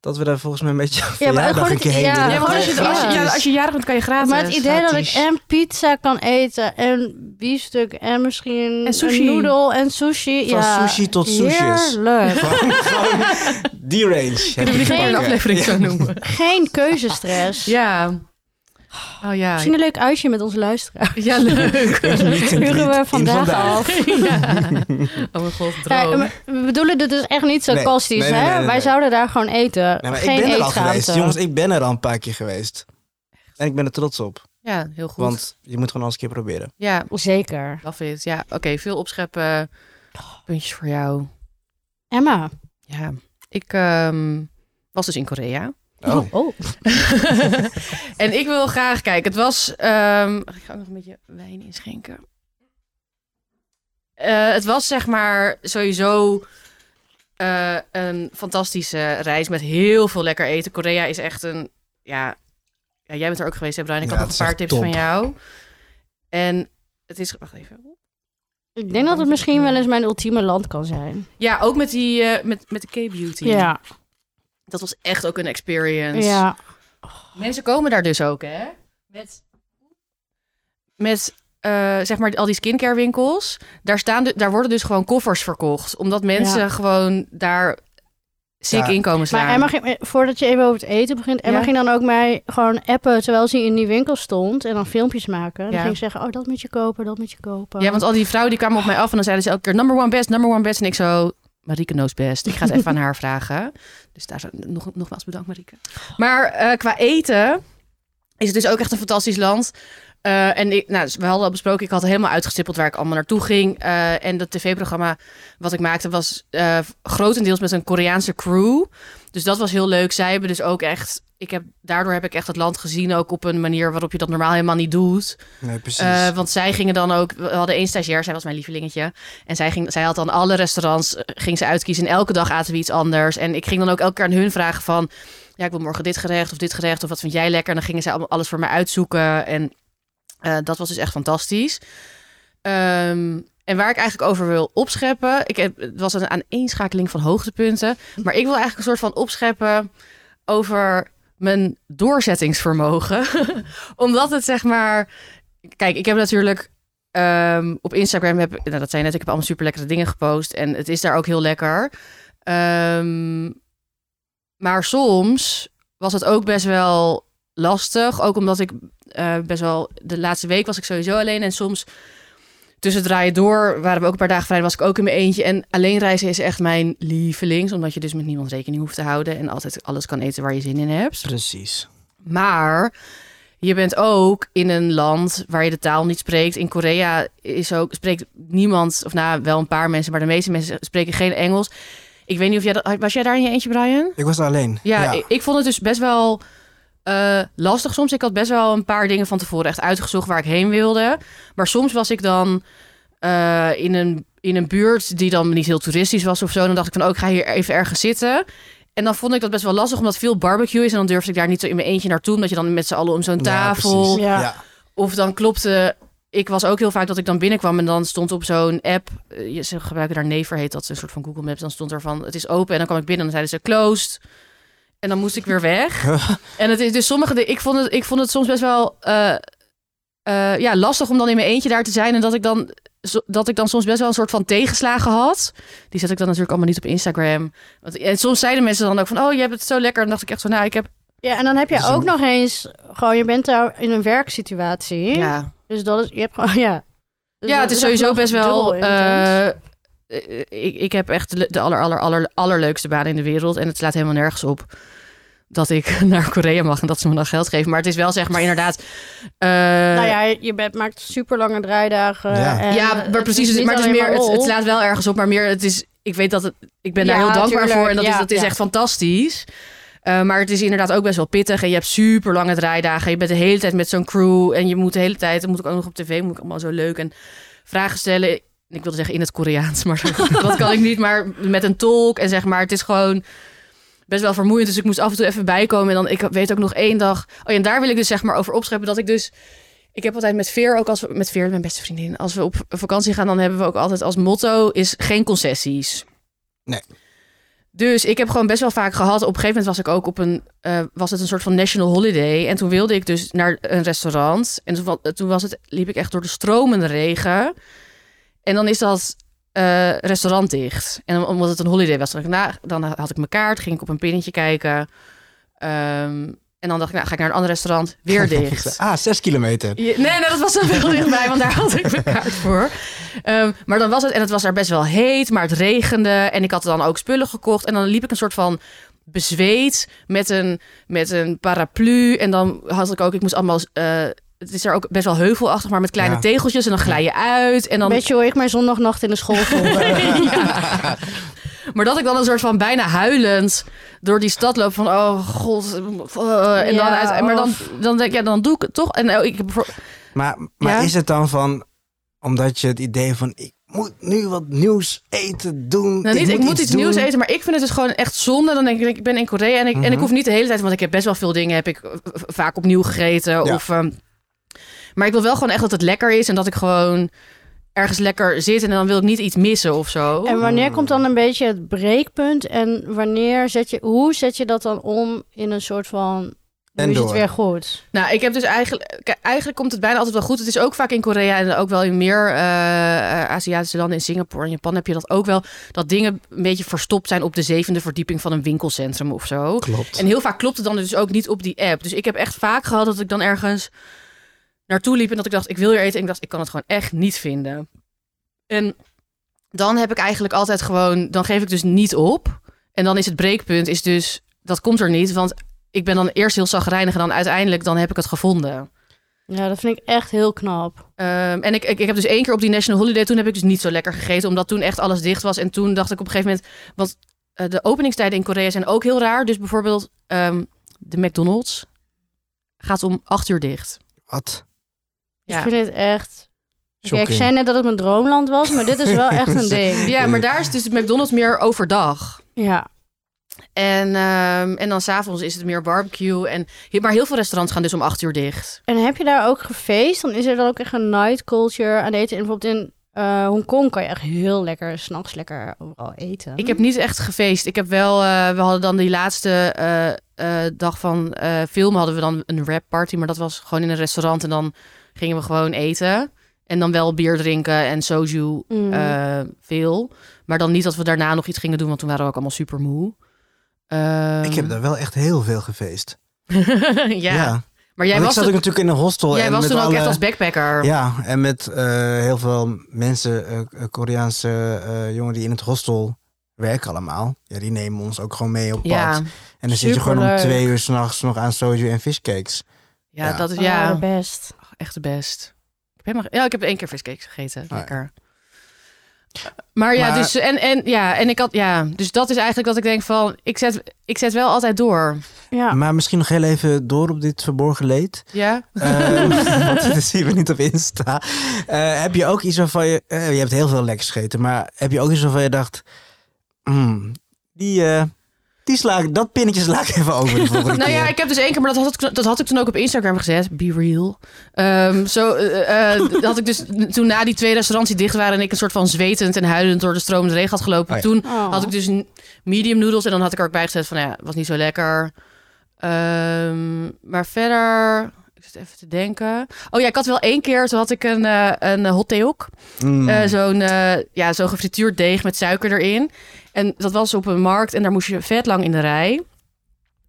Speaker 3: Dat we daar volgens mij een beetje
Speaker 1: Ja, maar ook
Speaker 3: verjaardag
Speaker 1: gewoon
Speaker 3: een keer heen
Speaker 1: het- ja,
Speaker 3: willen.
Speaker 1: ja, want als je- als je- ja,
Speaker 2: als je jarig bent, kan je gratis.
Speaker 1: Maar het idee dat ik
Speaker 2: Gratis.
Speaker 1: en pizza kan eten en biefstuk en misschien
Speaker 2: En sushi.
Speaker 1: een noedel en sushi.
Speaker 3: Van
Speaker 1: ja,
Speaker 3: sushi tot sushis.
Speaker 2: *laughs*
Speaker 1: Heerlijk.
Speaker 3: Gewoon- gewoon die range.
Speaker 2: Kunnen we die
Speaker 1: Geen-
Speaker 2: gewoon een aflevering zo noemen?
Speaker 1: *laughs* Geen keuzestress.
Speaker 2: Ja. Oh ja.
Speaker 1: Misschien een leuk uitje met onze luisteraar.
Speaker 2: Ja, leuk.
Speaker 1: *laughs* Huren we vandaag
Speaker 3: vandaag.
Speaker 1: af.
Speaker 2: Ja. Oh mijn god,
Speaker 1: Ja,
Speaker 2: droom.
Speaker 1: maar we bedoelen dit dus echt niet sarcastisch,
Speaker 3: Nee, nee,
Speaker 1: hè?
Speaker 3: nee, nee, nee.
Speaker 1: Wij zouden daar gewoon eten.
Speaker 3: Nee, maar ik
Speaker 1: Geen
Speaker 3: ben er al
Speaker 1: eetgaamte.
Speaker 3: geweest. Jongens, ik ben er al een paar keer geweest. En ik ben er trots op.
Speaker 2: Ja, heel goed.
Speaker 3: Want je moet gewoon alles een keer proberen.
Speaker 2: Ja,
Speaker 1: Zeker.
Speaker 2: love it. Ja, oké, veel opscheppen. Puntjes voor jou.
Speaker 1: Emma.
Speaker 2: Ja, ik ehm, was dus in Korea.
Speaker 3: Oh.
Speaker 2: en ik wil graag kijken. Het was. ehm, ik ga ook nog een beetje wijn inschenken. Eh, het was zeg maar sowieso eh, een fantastische reis met heel veel lekker eten. Korea is echt een. Ja, ja jij bent er ook geweest, hè, Brian? Ik
Speaker 3: Ja,
Speaker 2: had nog
Speaker 3: het
Speaker 2: een
Speaker 3: is
Speaker 2: paar tips
Speaker 3: echt top.
Speaker 2: van jou. En het is. Wacht even.
Speaker 1: Ik denk dat het misschien wel eens mijn ultieme land kan zijn.
Speaker 2: Ja, ook met, die, eh, met, met de K-beauty.
Speaker 1: Ja,
Speaker 2: Dat was echt ook een experience.
Speaker 1: ja.
Speaker 2: Mensen komen daar dus ook, hè? Met, met eh, zeg maar al die skincare winkels. Daar, staan de- daar worden dus gewoon koffers verkocht. Omdat mensen
Speaker 1: Ja.
Speaker 2: gewoon daar sick
Speaker 3: Ja.
Speaker 2: inkomen slaan.
Speaker 1: Maar Emma ging, eh, voordat je even over het eten begint, Emma
Speaker 2: Ja.
Speaker 1: ging dan ook mij gewoon appen terwijl ze in die winkel stond en dan filmpjes maken. Dan
Speaker 2: Ja.
Speaker 1: ging ik zeggen, oh dat moet je kopen, dat moet je kopen.
Speaker 2: Ja, want al die vrouwen die kwamen op mij af en dan zeiden ze elke keer number one best, number one best. En ik zo, Marieke knows best. Ik ga het even aan haar vragen. Dus daar zo- nog, nogmaals bedankt Marieke. Maar eh, qua eten is het dus ook echt een fantastisch land. Eh, en ik, nou, dus we hadden al besproken, ik had helemaal uitgestippeld waar ik allemaal naartoe ging. Eh, en dat tv-programma wat ik maakte was eh, grotendeels met een Koreaanse crew. Dus dat was heel leuk. Zij hebben dus ook echt, ik heb, daardoor heb ik echt het land gezien. Ook op een manier waarop je dat normaal helemaal niet doet.
Speaker 3: Nee, precies.
Speaker 2: Eh, want zij gingen dan ook, we hadden één stagiair, zij was mijn lievelingetje. En zij, ging, zij had dan alle restaurants, eh, ging ze uitkiezen. En elke dag aten we iets anders. En ik ging dan ook elke keer aan hun vragen van, ja, ik wil morgen dit gerecht of dit gerecht. Of wat vind jij lekker? En dan gingen zij allemaal alles voor mij uitzoeken. En eh, dat was dus echt fantastisch. Ehm, en waar ik eigenlijk over wil opscheppen, ik heb, het was een aaneenschakeling van hoogtepunten. Maar ik wil eigenlijk een soort van opscheppen over mijn doorzettingsvermogen. *laughs* Omdat het zeg maar kijk, ik heb natuurlijk ehm, op Instagram heb, nou, dat zijn net, ik heb allemaal super lekkere dingen gepost en het is daar ook heel lekker. Ehm, maar soms was het ook best wel lastig, ook omdat ik eh, best wel de laatste week was ik sowieso alleen en soms tussen het draaien door waren we ook een paar dagen vrij, was ik ook in mijn eentje en alleen reizen is echt mijn lievelings, omdat je dus met niemand rekening hoeft te houden en altijd alles kan eten waar je zin in hebt.
Speaker 3: Precies.
Speaker 2: Maar je bent ook in een land waar je de taal niet spreekt. In Korea is ook, spreekt niemand, of nou wel een paar mensen, maar de meeste mensen spreken geen Engels. Ik weet niet of jij dat. Was jij daar in je eentje, Brian?
Speaker 3: Ik was alleen.
Speaker 2: Ja, Ik, ik vond het dus best wel eh, lastig soms. Ik had best wel een paar dingen van tevoren echt uitgezocht waar ik heen wilde. Maar soms was ik dan eh, in, een, in een buurt die dan niet heel toeristisch was of zo. Dan dacht ik van, oh, ik ga hier even ergens zitten. En dan vond ik dat best wel lastig, omdat veel barbecue is. En dan durfde ik daar niet zo in mijn eentje naartoe, omdat je dan met z'n allen om zo'n
Speaker 3: Ja,
Speaker 2: tafel...
Speaker 3: precies.
Speaker 1: Ja.
Speaker 3: Ja.
Speaker 2: Of dan klopte. Ik was ook heel vaak dat ik dan binnenkwam en dan stond op zo'n app. eh, je- Ze gebruiken daar Never, heet dat, een soort van Google Maps. Dan stond er van, het is open. En dan kwam ik binnen en dan zeiden ze closed. En dan moest ik weer weg. en het is dus sommige dingen. Ik vond het, ik vond het soms best wel eh, eh, ja, lastig om dan in mijn eentje daar te zijn. En dat ik, dan, zo- dat ik dan soms best wel een soort van tegenslagen had. Die zet ik dan natuurlijk allemaal niet op Instagram. Want, en soms zeiden mensen dan ook van, oh, je hebt het zo lekker. En dan dacht ik echt zo, nou, ik heb...
Speaker 1: Ja, en dan heb je
Speaker 3: Dus
Speaker 1: ook
Speaker 3: een-
Speaker 1: nog eens, gewoon je bent daar in een werksituatie.
Speaker 2: Ja,
Speaker 1: Dus dat is, je hebt gewoon, *laughs* ja. Dus
Speaker 2: ja,
Speaker 1: dat
Speaker 2: het is
Speaker 1: echt
Speaker 2: sowieso
Speaker 1: nog
Speaker 2: best wel.
Speaker 1: dubbel
Speaker 2: eh,
Speaker 1: intens.
Speaker 2: eh, ik, ik heb echt de- de aller, aller, aller, allerleukste baan in de wereld. En het slaat helemaal nergens op dat ik *laughs* naar Korea mag en dat ze me dan geld geven. Maar het is wel zeg maar inderdaad. eh,
Speaker 1: nou
Speaker 2: ja,
Speaker 1: ja, je bent, maakt super lange draaidagen.
Speaker 3: Ja.
Speaker 1: en, eh,
Speaker 2: maar precies.
Speaker 1: niet
Speaker 2: maar het, is
Speaker 1: alleen
Speaker 2: meer, het,
Speaker 1: lol.
Speaker 2: het slaat wel ergens op, maar meer. Het is, ik weet dat het. Ik ben daar
Speaker 1: Ja,
Speaker 2: heel dankbaar
Speaker 1: tuurlijk,
Speaker 2: voor en dat is,
Speaker 1: ja,
Speaker 2: dat is
Speaker 1: ja.
Speaker 2: echt fantastisch. Eh, maar het is inderdaad ook best wel pittig. En je hebt super lange draaidagen. Je bent de hele tijd met zo'n crew. En je moet de hele tijd. Dan moet ik ook nog op tv. Moet ik allemaal zo leuk. En vragen stellen. Ik wilde zeggen in het Koreaans. *laughs* Maar dat kan ik niet. Maar met een tolk. En zeg maar. Het is gewoon best wel vermoeiend. Dus ik moest af en toe even bijkomen. En dan. Ik weet ook nog één dag. Oh ja, en daar wil ik dus zeg maar over opscheppen. Dat ik dus. Ik heb altijd met Veer, ook als we, met Veer, mijn beste vriendin, als we op vakantie gaan, dan hebben we ook altijd als motto is geen concessies.
Speaker 3: Nee.
Speaker 2: Dus ik heb gewoon best wel vaak gehad. Op een gegeven moment was ik ook op een, eh, was het een soort van national holiday. En toen wilde ik dus naar een restaurant. En toen, wa- eh, toen was het, liep ik echt door de stromende regen. En dan is dat eh, restaurant dicht. En omdat het een holiday was, dacht ik, nou, dan had ik mijn kaart, ging ik op een pinnetje kijken. Ehm, en dan dacht ik, nou, ga ik naar een ander restaurant,
Speaker 3: *laughs*
Speaker 2: weer dicht.
Speaker 3: Ah, zes kilometer.
Speaker 2: Ja, nee, nee, dat was dan wel dichtbij, want daar had ik mijn kaart voor. Ehm, maar dan was het, en het was daar best wel heet, maar het regende. En ik had dan ook spullen gekocht. En dan liep ik een soort van bezweet met een, met een paraplu. En dan had ik ook, ik moest allemaal, eh, het is daar ook best wel heuvelachtig, maar met kleine
Speaker 3: Ja.
Speaker 2: tegeltjes. En dan glij je uit. En dan,
Speaker 1: Weet je hoe ik mijn zondagnacht in de school
Speaker 2: *laughs*
Speaker 1: voelde?
Speaker 2: Ja. Maar dat ik dan een soort van bijna huilend door die stad loop van oh god. eh, en dan
Speaker 1: Ja,
Speaker 2: uit, maar dan,
Speaker 1: of-
Speaker 2: dan denk ik, ja, dan doe ik het toch. En oh, ik heb voor-
Speaker 3: Maar, maar
Speaker 2: Ja?
Speaker 3: is het dan van, omdat je het idee van, ik moet nu wat nieuws eten doen.
Speaker 2: Nou, niet, ik, moet iets
Speaker 3: doen.
Speaker 2: nieuws eten, maar ik vind het dus gewoon echt zonde. Dan denk ik, ik ben in Korea en ik, en ik
Speaker 3: Mhm.
Speaker 2: hoef niet de hele tijd, want ik heb best wel veel dingen, heb ik eh, v- vaak opnieuw gegeten.
Speaker 3: Ja.
Speaker 2: Of, ehm, maar ik wil wel gewoon echt dat het lekker is en dat ik gewoon ergens lekker zit en dan wil ik niet iets missen of zo.
Speaker 1: En wanneer komt dan een beetje het breekpunt? En wanneer zet je, hoe zet je dat dan om in een soort van. Nu
Speaker 3: En
Speaker 1: is het
Speaker 3: door.
Speaker 1: weer goed.
Speaker 2: Nou, ik heb dus eigenlijk... k- Eigenlijk komt het bijna altijd wel goed. Het is ook vaak in Korea en ook wel in meer eh, eh, Aziatische landen. In Singapore en Japan heb je dat ook wel. Dat dingen een beetje verstopt zijn op de zevende verdieping van een winkelcentrum of zo.
Speaker 3: Klopt.
Speaker 2: En heel vaak klopt het dan dus ook niet op die app. Dus ik heb echt vaak gehad dat ik dan ergens naartoe liep en dat ik dacht, ik wil hier eten. En ik dacht, ik kan het gewoon echt niet vinden. En dan heb ik eigenlijk altijd gewoon, dan geef ik dus niet op. En dan is het breekpunt, is dus, dat komt er niet. Want ik ben dan eerst heel zagrijnig en dan uiteindelijk dan heb ik het gevonden.
Speaker 1: Ja, dat vind ik echt heel knap.
Speaker 2: Ehm, en ik, ik, ik heb dus één keer op die National Holiday, toen heb ik dus niet zo lekker gegeten, omdat toen echt alles dicht was. En toen dacht ik op een gegeven moment, want eh, de openingstijden in Korea zijn ook heel raar. Dus bijvoorbeeld ehm, de McDonald's gaat om acht uur dicht.
Speaker 3: Wat?
Speaker 1: Ik vind dit echt. Kijk, ik
Speaker 3: Shocking.
Speaker 1: zei net dat het mijn droomland was, maar dit is wel echt
Speaker 2: *laughs*
Speaker 1: een ding.
Speaker 2: Ja, maar daar is dus de McDonald's meer overdag.
Speaker 1: Ja.
Speaker 2: En, ehm, en dan s'avonds is het meer barbecue. En, maar heel veel restaurants gaan dus om acht uur dicht.
Speaker 1: En heb je daar ook gefeest? Dan is er dan ook echt een night culture aan eten. En bijvoorbeeld in eh, Hongkong kan je echt heel lekker, s'nachts lekker overal eten.
Speaker 2: Ik heb niet echt gefeest. Ik heb wel, eh, we hadden dan die laatste eh, eh, dag van eh film hadden we dan een rap party, maar dat was gewoon in een restaurant en dan gingen we gewoon eten en dan wel bier drinken en soju
Speaker 1: Mm.
Speaker 3: Mhm.
Speaker 2: eh, veel, maar dan niet dat we daarna nog iets gingen doen, want toen waren we ook allemaal super moe. Ehm,
Speaker 3: Ik
Speaker 2: *laughs*
Speaker 3: heb daar wel echt heel veel gefeest.
Speaker 2: ja. maar jij
Speaker 3: Want
Speaker 2: was,
Speaker 3: ik zat
Speaker 2: toen-
Speaker 3: ook natuurlijk in een hostel.
Speaker 2: jij
Speaker 3: en
Speaker 2: was
Speaker 3: met
Speaker 2: toen ook
Speaker 3: alle...
Speaker 2: echt als backpacker.
Speaker 3: Ja, en met eh, heel veel mensen, eh, eh, Koreaanse eh, jongeren die in het hostel werken allemaal. Ja, die nemen ons ook gewoon mee op pad.
Speaker 2: ja,
Speaker 3: en dan zit je gewoon om
Speaker 1: superleuk.
Speaker 3: twee uur s'nachts nog aan soju en fishcakes.
Speaker 2: Ja,
Speaker 3: Ja.
Speaker 2: dat is
Speaker 1: Oh,
Speaker 2: ja.
Speaker 1: de best.
Speaker 2: Echt de best. Ik heb, helemaal- ja, ik heb één keer viscakes gegeten.
Speaker 3: Ah, ja.
Speaker 2: Lekker. Maar ja,
Speaker 3: Maar-
Speaker 2: dus en, en ja, en ik had ja, dus dat is eigenlijk dat ik denk van ik zet, ik zet wel altijd door.
Speaker 1: Ja.
Speaker 3: Maar misschien nog heel even door op dit verborgen leed.
Speaker 2: Ja,
Speaker 3: Ehm, *laughs* want dat zien we niet op Insta. Eh, heb je ook iets waarvan je... eh, je hebt heel veel lekkers gegeten, maar heb je ook iets waarvan je dacht... "Mm, die, eh, die sla ik, dat pinnetje sla ik even over de volgende
Speaker 2: nou ja,
Speaker 3: keer."
Speaker 2: ik heb dus één keer, maar dat had ik, dat had ik toen ook op Instagram gezet. Be real. Ehm, zo eh, eh, had ik dus toen na die twee restaurants die dicht waren en ik een soort van zwetend en huilend door de stromende regen had gelopen.
Speaker 3: Oh ja.
Speaker 2: Toen
Speaker 1: Oh.
Speaker 2: had ik dus n- medium noedels en dan had ik er ook bij gezet van ja, was niet zo lekker. Ehm, maar verder, ik zit even te denken. Oh ja, ik had wel één keer, toen had ik een, eh, een hot theeok.
Speaker 3: Mm.
Speaker 2: Eh, zo'n eh, ja, zo'n gefrituurd deeg met suiker erin. En dat was op een markt en daar moest je vet lang in de rij.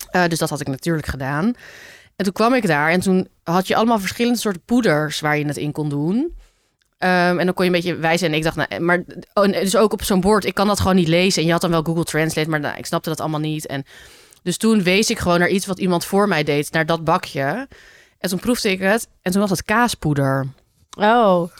Speaker 2: Eh, dus dat had ik natuurlijk gedaan. En toen kwam ik daar en toen had je allemaal verschillende soorten poeders waar je het in kon doen. Ehm, en dan kon je een beetje wijzen. En ik dacht, nou, maar oh, en dus ook op zo'n bord, ik kan dat gewoon niet lezen. En je had dan wel Google Translate, maar nou, ik snapte dat allemaal niet. En dus toen wees ik gewoon naar iets wat iemand voor mij deed, naar dat bakje. En toen proefde ik het en toen was het kaaspoeder.
Speaker 1: Oh.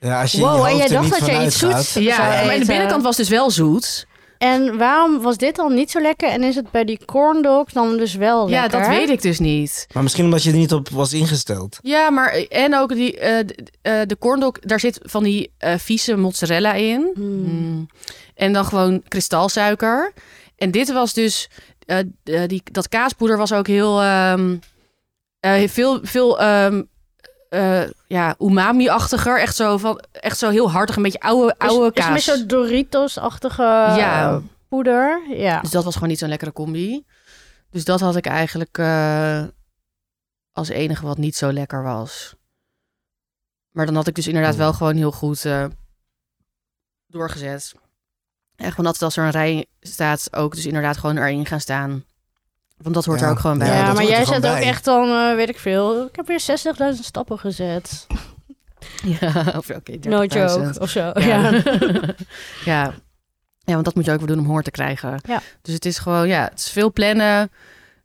Speaker 3: ja, als je in je
Speaker 1: Wow, en
Speaker 3: hoofd
Speaker 1: jij
Speaker 3: er
Speaker 1: dacht
Speaker 3: niet
Speaker 1: dat
Speaker 3: van
Speaker 1: jij iets
Speaker 3: uitgaat.
Speaker 1: zoets eh,
Speaker 2: Ja,
Speaker 1: zou
Speaker 2: maar de
Speaker 1: eten.
Speaker 2: binnenkant was dus wel zoet.
Speaker 1: En waarom was dit dan niet zo lekker? En is het bij die corn dogs dan dus wel
Speaker 2: Ja,
Speaker 1: lekker?
Speaker 2: dat weet ik dus niet.
Speaker 3: Maar misschien omdat je er niet op was ingesteld.
Speaker 2: Ja, maar en ook die, eh, d- eh, de corndog, daar zit van die eh, vieze mozzarella in.
Speaker 1: Hmm.
Speaker 2: Mm. En dan gewoon kristalsuiker. En dit was dus, eh, eh, die, dat kaaspoeder was ook heel, ehm, eh, veel, veel ehm, eh, ja, umami-achtiger. Echt zo, van, echt zo heel hartig, een beetje oude,
Speaker 1: Is-
Speaker 2: oude
Speaker 1: is het
Speaker 2: kaas.
Speaker 1: met zo'n Doritos-achtige
Speaker 2: Ja.
Speaker 1: eh, poeder. Ja.
Speaker 2: Dus dat was gewoon niet zo'n lekkere combi. Dus dat had ik eigenlijk eh, als enige wat niet zo lekker was. Maar dan had ik dus inderdaad
Speaker 3: Oh.
Speaker 2: wel gewoon heel goed eh, doorgezet. En gewoon altijd als er een rij staat, ook dus inderdaad gewoon erin gaan staan. Want dat hoort
Speaker 3: Ja.
Speaker 2: er ook gewoon bij.
Speaker 1: Ja,
Speaker 3: Nou Ja, dat
Speaker 1: maar
Speaker 3: hoort
Speaker 1: jij
Speaker 3: er gewoon
Speaker 1: zet ook
Speaker 3: bij.
Speaker 1: echt dan, eh, weet ik veel. Ik heb weer 60.000 stappen gezet.
Speaker 2: Ja, *laughs* of, oké,
Speaker 1: No
Speaker 2: 30.000.
Speaker 1: joke, of zo.
Speaker 2: Ja.
Speaker 3: *laughs*
Speaker 1: ja. *laughs*
Speaker 2: ja. ja, want dat moet je ook weer doen om honger te krijgen.
Speaker 1: Ja.
Speaker 2: Dus het is gewoon, ja, het is veel plannen.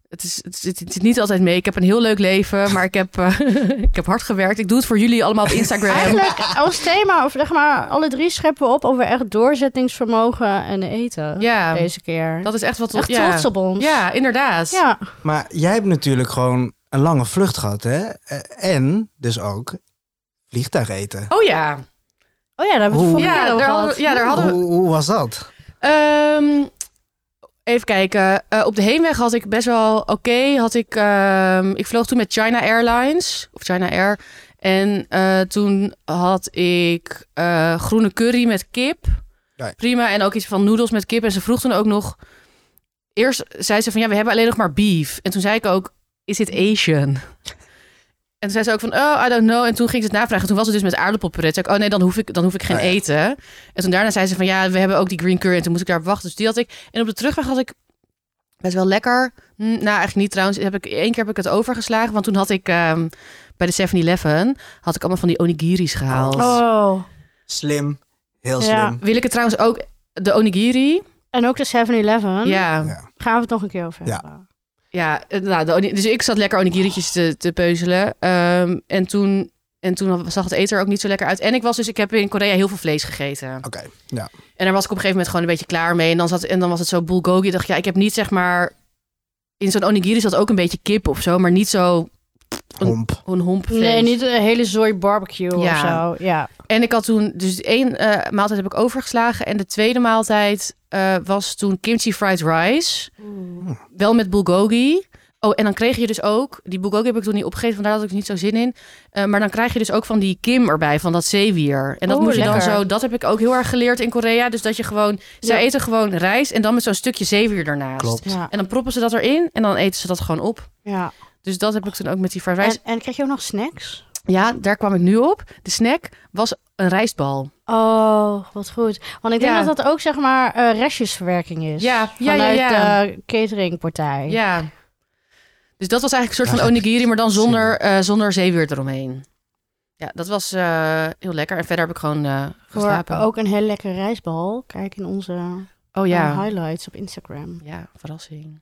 Speaker 2: Het, is, het, zit- het zit niet altijd mee. Ik heb een heel leuk leven, maar ik heb, eh, *laughs* ik heb hard gewerkt. Ik doe het voor jullie allemaal op Instagram.
Speaker 1: Eigenlijk als thema, of zeg maar, alle drie scheppen we op over echt doorzettingsvermogen en eten.
Speaker 2: ja,
Speaker 1: Deze keer.
Speaker 2: dat is echt wat...
Speaker 1: echt
Speaker 2: ja.
Speaker 1: trots op ons.
Speaker 2: Ja, inderdaad.
Speaker 1: Ja.
Speaker 3: Maar jij hebt natuurlijk gewoon een lange vlucht gehad, hè? Eh, En dus ook vliegtuig eten.
Speaker 2: Oh ja.
Speaker 1: Oh ja, daar hebben we het
Speaker 3: Hoe-
Speaker 1: vorige
Speaker 2: Ja,
Speaker 1: keer over
Speaker 2: daar
Speaker 1: gehad.
Speaker 2: hadden we- ja, daar hadden we-
Speaker 3: Hoe, hoe was dat?
Speaker 2: Ehm, even kijken. Eh, op de heenweg had ik best wel oké. Had ik, ehm, ik vloog toen met China Airlines. Of China Air. En eh, toen had ik eh, groene curry met kip.
Speaker 3: Ja.
Speaker 2: Prima. En ook iets van noedels met kip. En ze vroeg toen ook nog... Eerst zei ze van, ja, we hebben alleen nog maar beef. En toen zei ik ook, is dit Asian? En toen zei ze ook van, oh, I don't know. En toen ging ze het navragen. Toen was het dus met aardappelpuree. Toen zei ik, oh nee, dan hoef ik, dan hoef ik geen
Speaker 3: Ah, ja.
Speaker 2: eten. En toen daarna zei ze van, ja, we hebben ook die green curry. En toen moest ik daarop wachten. Dus die had ik. En op de terugweg had ik best wel lekker. Hm, nou, eigenlijk niet trouwens. Heb ik, één keer heb ik het overgeslagen. Want toen had ik ehm, bij de 7-Eleven had ik allemaal van die onigiri's gehaald.
Speaker 1: Oh.
Speaker 3: Slim. Heel
Speaker 1: Ja.
Speaker 3: slim.
Speaker 2: Wil ik het trouwens ook de onigiri?
Speaker 1: En ook de 7-Eleven.
Speaker 2: Ja,
Speaker 3: Ja.
Speaker 1: Gaan we het nog een keer over hebben.
Speaker 2: ja. eh, Nou, de oni- dus ik zat lekker onigiri'tjes te, te peuzelen. Ehm, en toen en toen zag het eten er ook niet zo lekker uit. En ik was dus, ik heb in Korea heel veel vlees gegeten.
Speaker 3: Oké, ja.
Speaker 2: En daar was ik op een gegeven moment gewoon een beetje klaar mee. En dan, zat, en dan was het zo bulgogi. Ik dacht, ja, ik heb niet zeg maar... In zo'n onigiri zat ook een beetje kip of zo. Maar niet zo
Speaker 3: Homp.
Speaker 2: een homp vlees.
Speaker 1: Nee, niet een hele zooi barbecue
Speaker 2: Ja.
Speaker 1: of zo. Ja.
Speaker 2: En ik had toen, dus één eh, maaltijd heb ik overgeslagen. En de tweede maaltijd eh, was toen kimchi fried rice. Wel met bulgogi. Oh, en dan kreeg je dus ook, die bulgogi heb ik toen niet opgegeten, want daar had ik dus niet zo zin in. Eh, maar dan krijg je dus ook van die kim erbij, van dat zeewier. En dat
Speaker 1: Oh,
Speaker 2: moet je dan
Speaker 1: lekker.
Speaker 2: zo, dat heb ik ook heel erg geleerd in Korea. Dus dat je gewoon, zij
Speaker 1: Ja.
Speaker 2: eten gewoon rijst en dan met zo'n stukje zeewier ernaast.
Speaker 3: Klopt.
Speaker 1: Ja.
Speaker 2: En dan proppen ze dat erin en dan eten ze dat gewoon op.
Speaker 1: ja.
Speaker 2: Dus dat heb ik toen ook met die fried rice.
Speaker 1: En, en kreeg je ook nog snacks?
Speaker 2: Ja, daar kwam ik nu op. De snack was een rijstbal.
Speaker 1: Oh, wat goed. Want ik denk
Speaker 2: Ja.
Speaker 1: dat dat ook, zeg maar, eh, restjesverwerking is.
Speaker 2: Ja, ja, ja,
Speaker 1: Vanuit
Speaker 2: ja.
Speaker 1: de cateringpartij.
Speaker 2: Ja. Dus dat was eigenlijk een soort
Speaker 3: Ja,
Speaker 2: van onigiri, maar dan zonder, eh, zonder zeewier eromheen. Ja, dat was eh, heel lekker. En verder heb ik gewoon eh,
Speaker 1: Voor
Speaker 2: geslapen.
Speaker 1: ook een hele lekkere rijstbal. Kijk in onze
Speaker 2: oh ja.
Speaker 1: eh, highlights op Instagram.
Speaker 2: Ja, verrassing.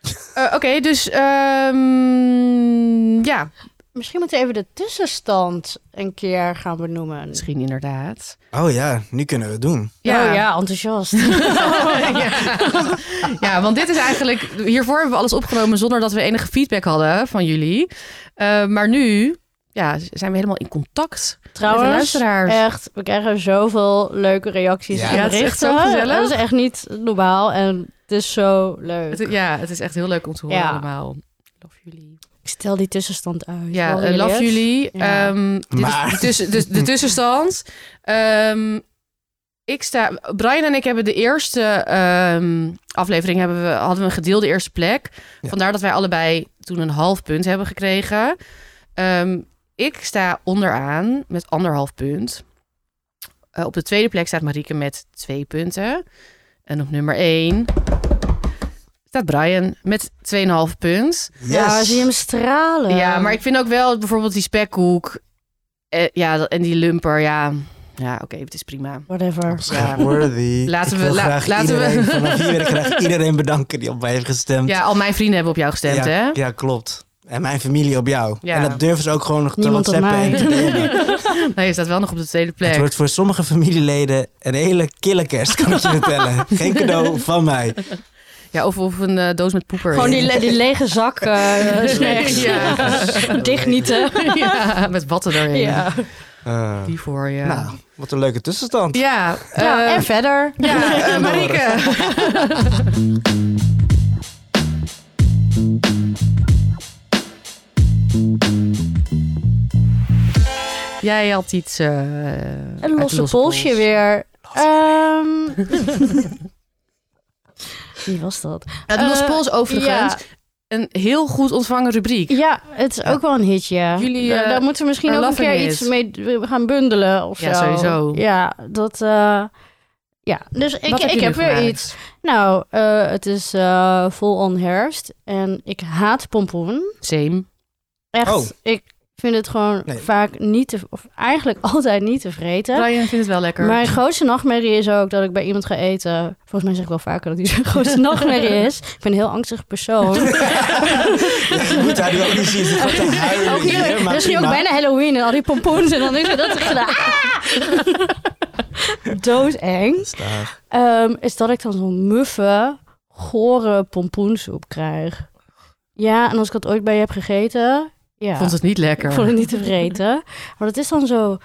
Speaker 2: *laughs* Eh, Oké, dus ehm, ja,
Speaker 1: Misschien moeten we even de tussenstand een keer gaan benoemen.
Speaker 2: misschien inderdaad.
Speaker 3: Oh ja, nu kunnen we het doen.
Speaker 1: Oh
Speaker 2: *laughs*
Speaker 1: ja, enthousiast. *laughs*
Speaker 2: ja. *laughs* Ja, want dit is eigenlijk... Hiervoor hebben we alles opgenomen zonder dat we enige feedback hadden van jullie. Eh, maar nu ja, zijn we helemaal in contact met de
Speaker 1: Trouwens,
Speaker 2: luisteraars.
Speaker 1: echt, we krijgen zoveel leuke reacties
Speaker 3: Ja.
Speaker 1: en
Speaker 3: Ja,
Speaker 2: het is echt
Speaker 1: berichten.
Speaker 2: zo gezellig.
Speaker 1: Dat is echt niet normaal en het is zo leuk.
Speaker 2: Het- ja, het is echt heel leuk om te horen
Speaker 1: Ja.
Speaker 2: allemaal. Love jullie.
Speaker 1: Ik stel die tussenstand uit.
Speaker 2: Ja,
Speaker 1: Horen
Speaker 2: eh, love
Speaker 1: het?
Speaker 2: jullie.
Speaker 1: Ja.
Speaker 2: Ehm, dit is
Speaker 3: Maar-
Speaker 2: de, tussen- de, de tussenstand. Ehm, ik sta, Brian en ik hebben de eerste ehm, aflevering hebben we, hadden we een gedeelde eerste plek.
Speaker 3: Ja.
Speaker 2: Vandaar dat wij allebei toen een half punt hebben gekregen. Ehm, ik sta onderaan met anderhalf punt. Eh, op de tweede plek staat Marieke met twee punten. En op nummer één staat Brian met 2,5 punt.
Speaker 3: Yes.
Speaker 1: Ja, zie je hem stralen.
Speaker 2: Ja,
Speaker 3: Ehm.
Speaker 2: maar ik vind ook wel bijvoorbeeld die spekkoek. eh, ja, dat- en die lumper. Ja, ja oké, het is prima.
Speaker 1: Whatever.
Speaker 3: Worthy.
Speaker 2: *laughs* Laten
Speaker 3: Ik
Speaker 2: we-
Speaker 3: wil
Speaker 2: la-
Speaker 3: graag
Speaker 2: laten we- *laughs*
Speaker 3: iedereen, Vanaf hier wil ik graag iedereen bedanken die op mij heeft gestemd.
Speaker 2: Ja, al mijn vrienden hebben op jou gestemd,
Speaker 3: ja,
Speaker 2: hè?
Speaker 3: ja, klopt. En mijn familie op jou.
Speaker 2: Ja.
Speaker 3: En dat durven ze ook gewoon nog te
Speaker 1: Niemand op
Speaker 3: whatsappen
Speaker 1: mij.
Speaker 3: en te delen.
Speaker 2: *laughs* Nee, je staat wel nog op de tweede
Speaker 3: Het
Speaker 2: plek.
Speaker 3: wordt voor sommige familieleden een hele kille kerst, kan ik je
Speaker 2: *laughs*
Speaker 3: vertellen. Geen cadeau van mij.
Speaker 2: Ja, of, of een eh, doos met poeper.
Speaker 1: Gewoon die, le- die lege zak
Speaker 2: *laughs*
Speaker 1: eh, snacks.
Speaker 2: Ja.
Speaker 1: *laughs* Dichtnieten.
Speaker 2: *laughs* ja, met watten erin.
Speaker 1: Ja.
Speaker 3: Eh,
Speaker 2: Die voor je.
Speaker 3: Nou, wat een leuke tussenstand.
Speaker 2: Ja,
Speaker 1: Ja,
Speaker 2: eh,
Speaker 1: en verder.
Speaker 2: Ja,
Speaker 1: *laughs*
Speaker 2: eh, Marieke. Jij had iets. eh, uit de
Speaker 1: Een losse polsje weer. Ehm, Wie was dat?
Speaker 2: Ja, de losse
Speaker 1: Eh,
Speaker 2: pols overigens. Een heel goed ontvangen rubriek.
Speaker 1: Ja, het is ook wel een hitje.
Speaker 2: Jullie,
Speaker 1: Da-
Speaker 2: eh,
Speaker 1: daar moeten we misschien
Speaker 2: are
Speaker 1: ook een
Speaker 2: loving
Speaker 1: keer
Speaker 2: it.
Speaker 1: iets mee d- gaan bundelen of
Speaker 2: Ja,
Speaker 1: zo.
Speaker 2: sowieso.
Speaker 1: Ja, dat... eh, ja, dus ik,
Speaker 2: Wat
Speaker 1: ik
Speaker 2: je
Speaker 1: heb
Speaker 2: nu
Speaker 1: weer
Speaker 2: gemaakt?
Speaker 1: iets. Nou, eh, het is eh vol on herfst en ik haat pompoen.
Speaker 2: Same.
Speaker 1: Echt,
Speaker 3: Oh.
Speaker 1: ik vind het gewoon
Speaker 3: Nee.
Speaker 1: vaak niet te... of eigenlijk *laughs* altijd niet te vreten.
Speaker 2: Brian vindt het wel lekker.
Speaker 1: Mijn grootste nachtmerrie is ook dat ik bij iemand ga eten. Volgens mij zeg ik wel vaker dat die zijn *laughs* grootste nachtmerrie is. Ik ben een heel angstig persoon.
Speaker 3: Je moet haar nu ook niet zien. Ze gaat te huilen
Speaker 1: Ook
Speaker 3: hier,
Speaker 1: hier,
Speaker 3: maar
Speaker 1: dus nu ook
Speaker 3: prima.
Speaker 1: bijna Halloween en al die pompoens en dan is er dat ik gedaan. Doodeng.
Speaker 3: Staag.
Speaker 1: Ehm, is dat ik dan zo'n muffe, gore pompoensoep krijg. Ja, en als ik dat ooit bij je heb gegeten, ja,
Speaker 2: Vond het niet lekker.
Speaker 1: ik vond het niet te vreten. Maar dat is dan zo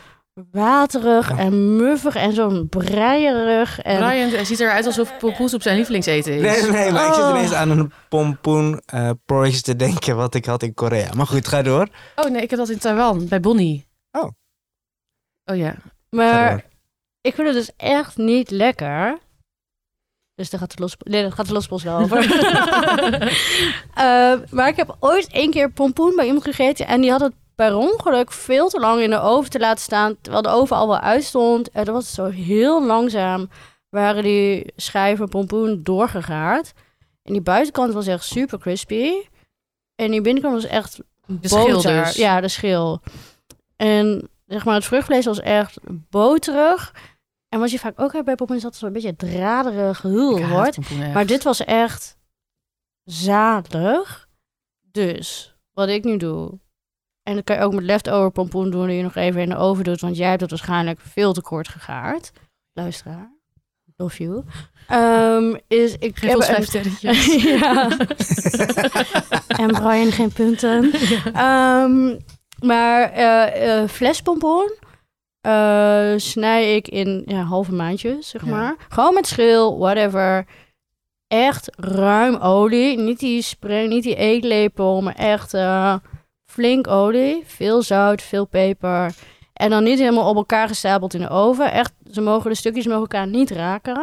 Speaker 1: waterig
Speaker 3: Ja.
Speaker 1: en muffig en zo'n breierig. En...
Speaker 2: Brian hij ziet eruit alsof poes op zijn lievelingseten is.
Speaker 3: Nee, nee, nee, maar ik zit
Speaker 1: Oh.
Speaker 3: ineens aan een pompoen eh porridge te denken wat ik had in Korea. Maar goed, ga door.
Speaker 2: Oh nee, ik heb dat in Taiwan, bij Bonnie.
Speaker 3: Oh.
Speaker 2: Oh
Speaker 1: *laughs*
Speaker 2: ja.
Speaker 3: Ga
Speaker 1: maar
Speaker 3: door.
Speaker 1: ik vind het dus echt niet lekker. Dus daar gaat de los, nee, daar gaat de lospos wel over.
Speaker 3: *laughs*
Speaker 1: Eh, maar ik heb ooit één keer pompoen bij iemand gegeten. En die had het per ongeluk veel te lang in de oven te laten staan. Terwijl de oven al wel uitstond. En dat was zo heel langzaam. Waren die schijven pompoen doorgegaard. En die buitenkant was echt super crispy. En die binnenkant was echt
Speaker 2: De schil
Speaker 1: boter.
Speaker 2: dus.
Speaker 1: Ja, de schil. En zeg maar, het vruchtvlees was echt boterig. En wat je vaak ook hebt bij pompoen is dat het zo'n beetje draderig
Speaker 2: Ik
Speaker 1: gehul
Speaker 2: haat
Speaker 1: wordt.
Speaker 2: pompoen echt.
Speaker 1: Maar dit was echt zalig. Dus wat ik nu doe. En dat kan je ook met leftover pompoen doen, die je nog even in de oven doet. Want jij hebt het waarschijnlijk veel te kort gegaard. Luisteraar, love you. Ehm, is ik
Speaker 2: Geef
Speaker 1: heb
Speaker 2: ons
Speaker 1: een-
Speaker 2: vijf
Speaker 1: *laughs*
Speaker 2: sterretjes.
Speaker 1: ja. en Brian geen punten. Ehm, maar eh eh flespompoen eh, snij ik in ja, halve maandjes, zeg
Speaker 2: Ja.
Speaker 1: maar. Gewoon met schil, whatever. Echt ruim olie. Niet die spray, niet die eetlepel, maar echt eh, flink olie. Veel zout, veel peper. En dan niet helemaal op elkaar gestapeld in de oven. Echt, ze mogen de stukjes mogen elkaar niet raken.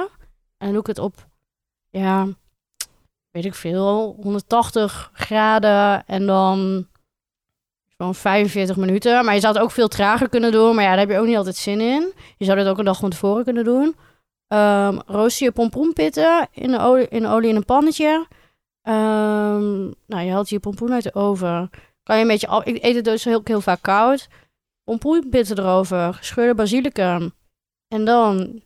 Speaker 1: En dan doe ik het op, ja, weet ik veel, 180 graden en dan zo'n 45 minuten. Maar je zou het ook veel trager kunnen doen, maar ja, daar heb je ook niet altijd zin in. Je zou dit ook een dag van tevoren kunnen doen. Ehm rooster je pompoenpitten in de olie in, de olie in een pannetje. Ehm, nou, je haalt je pompoen uit de oven. Kan je een beetje... af- Ik eet het dus heel, heel vaak koud. Pompoenpitten erover, gescheurde basilicum. En dan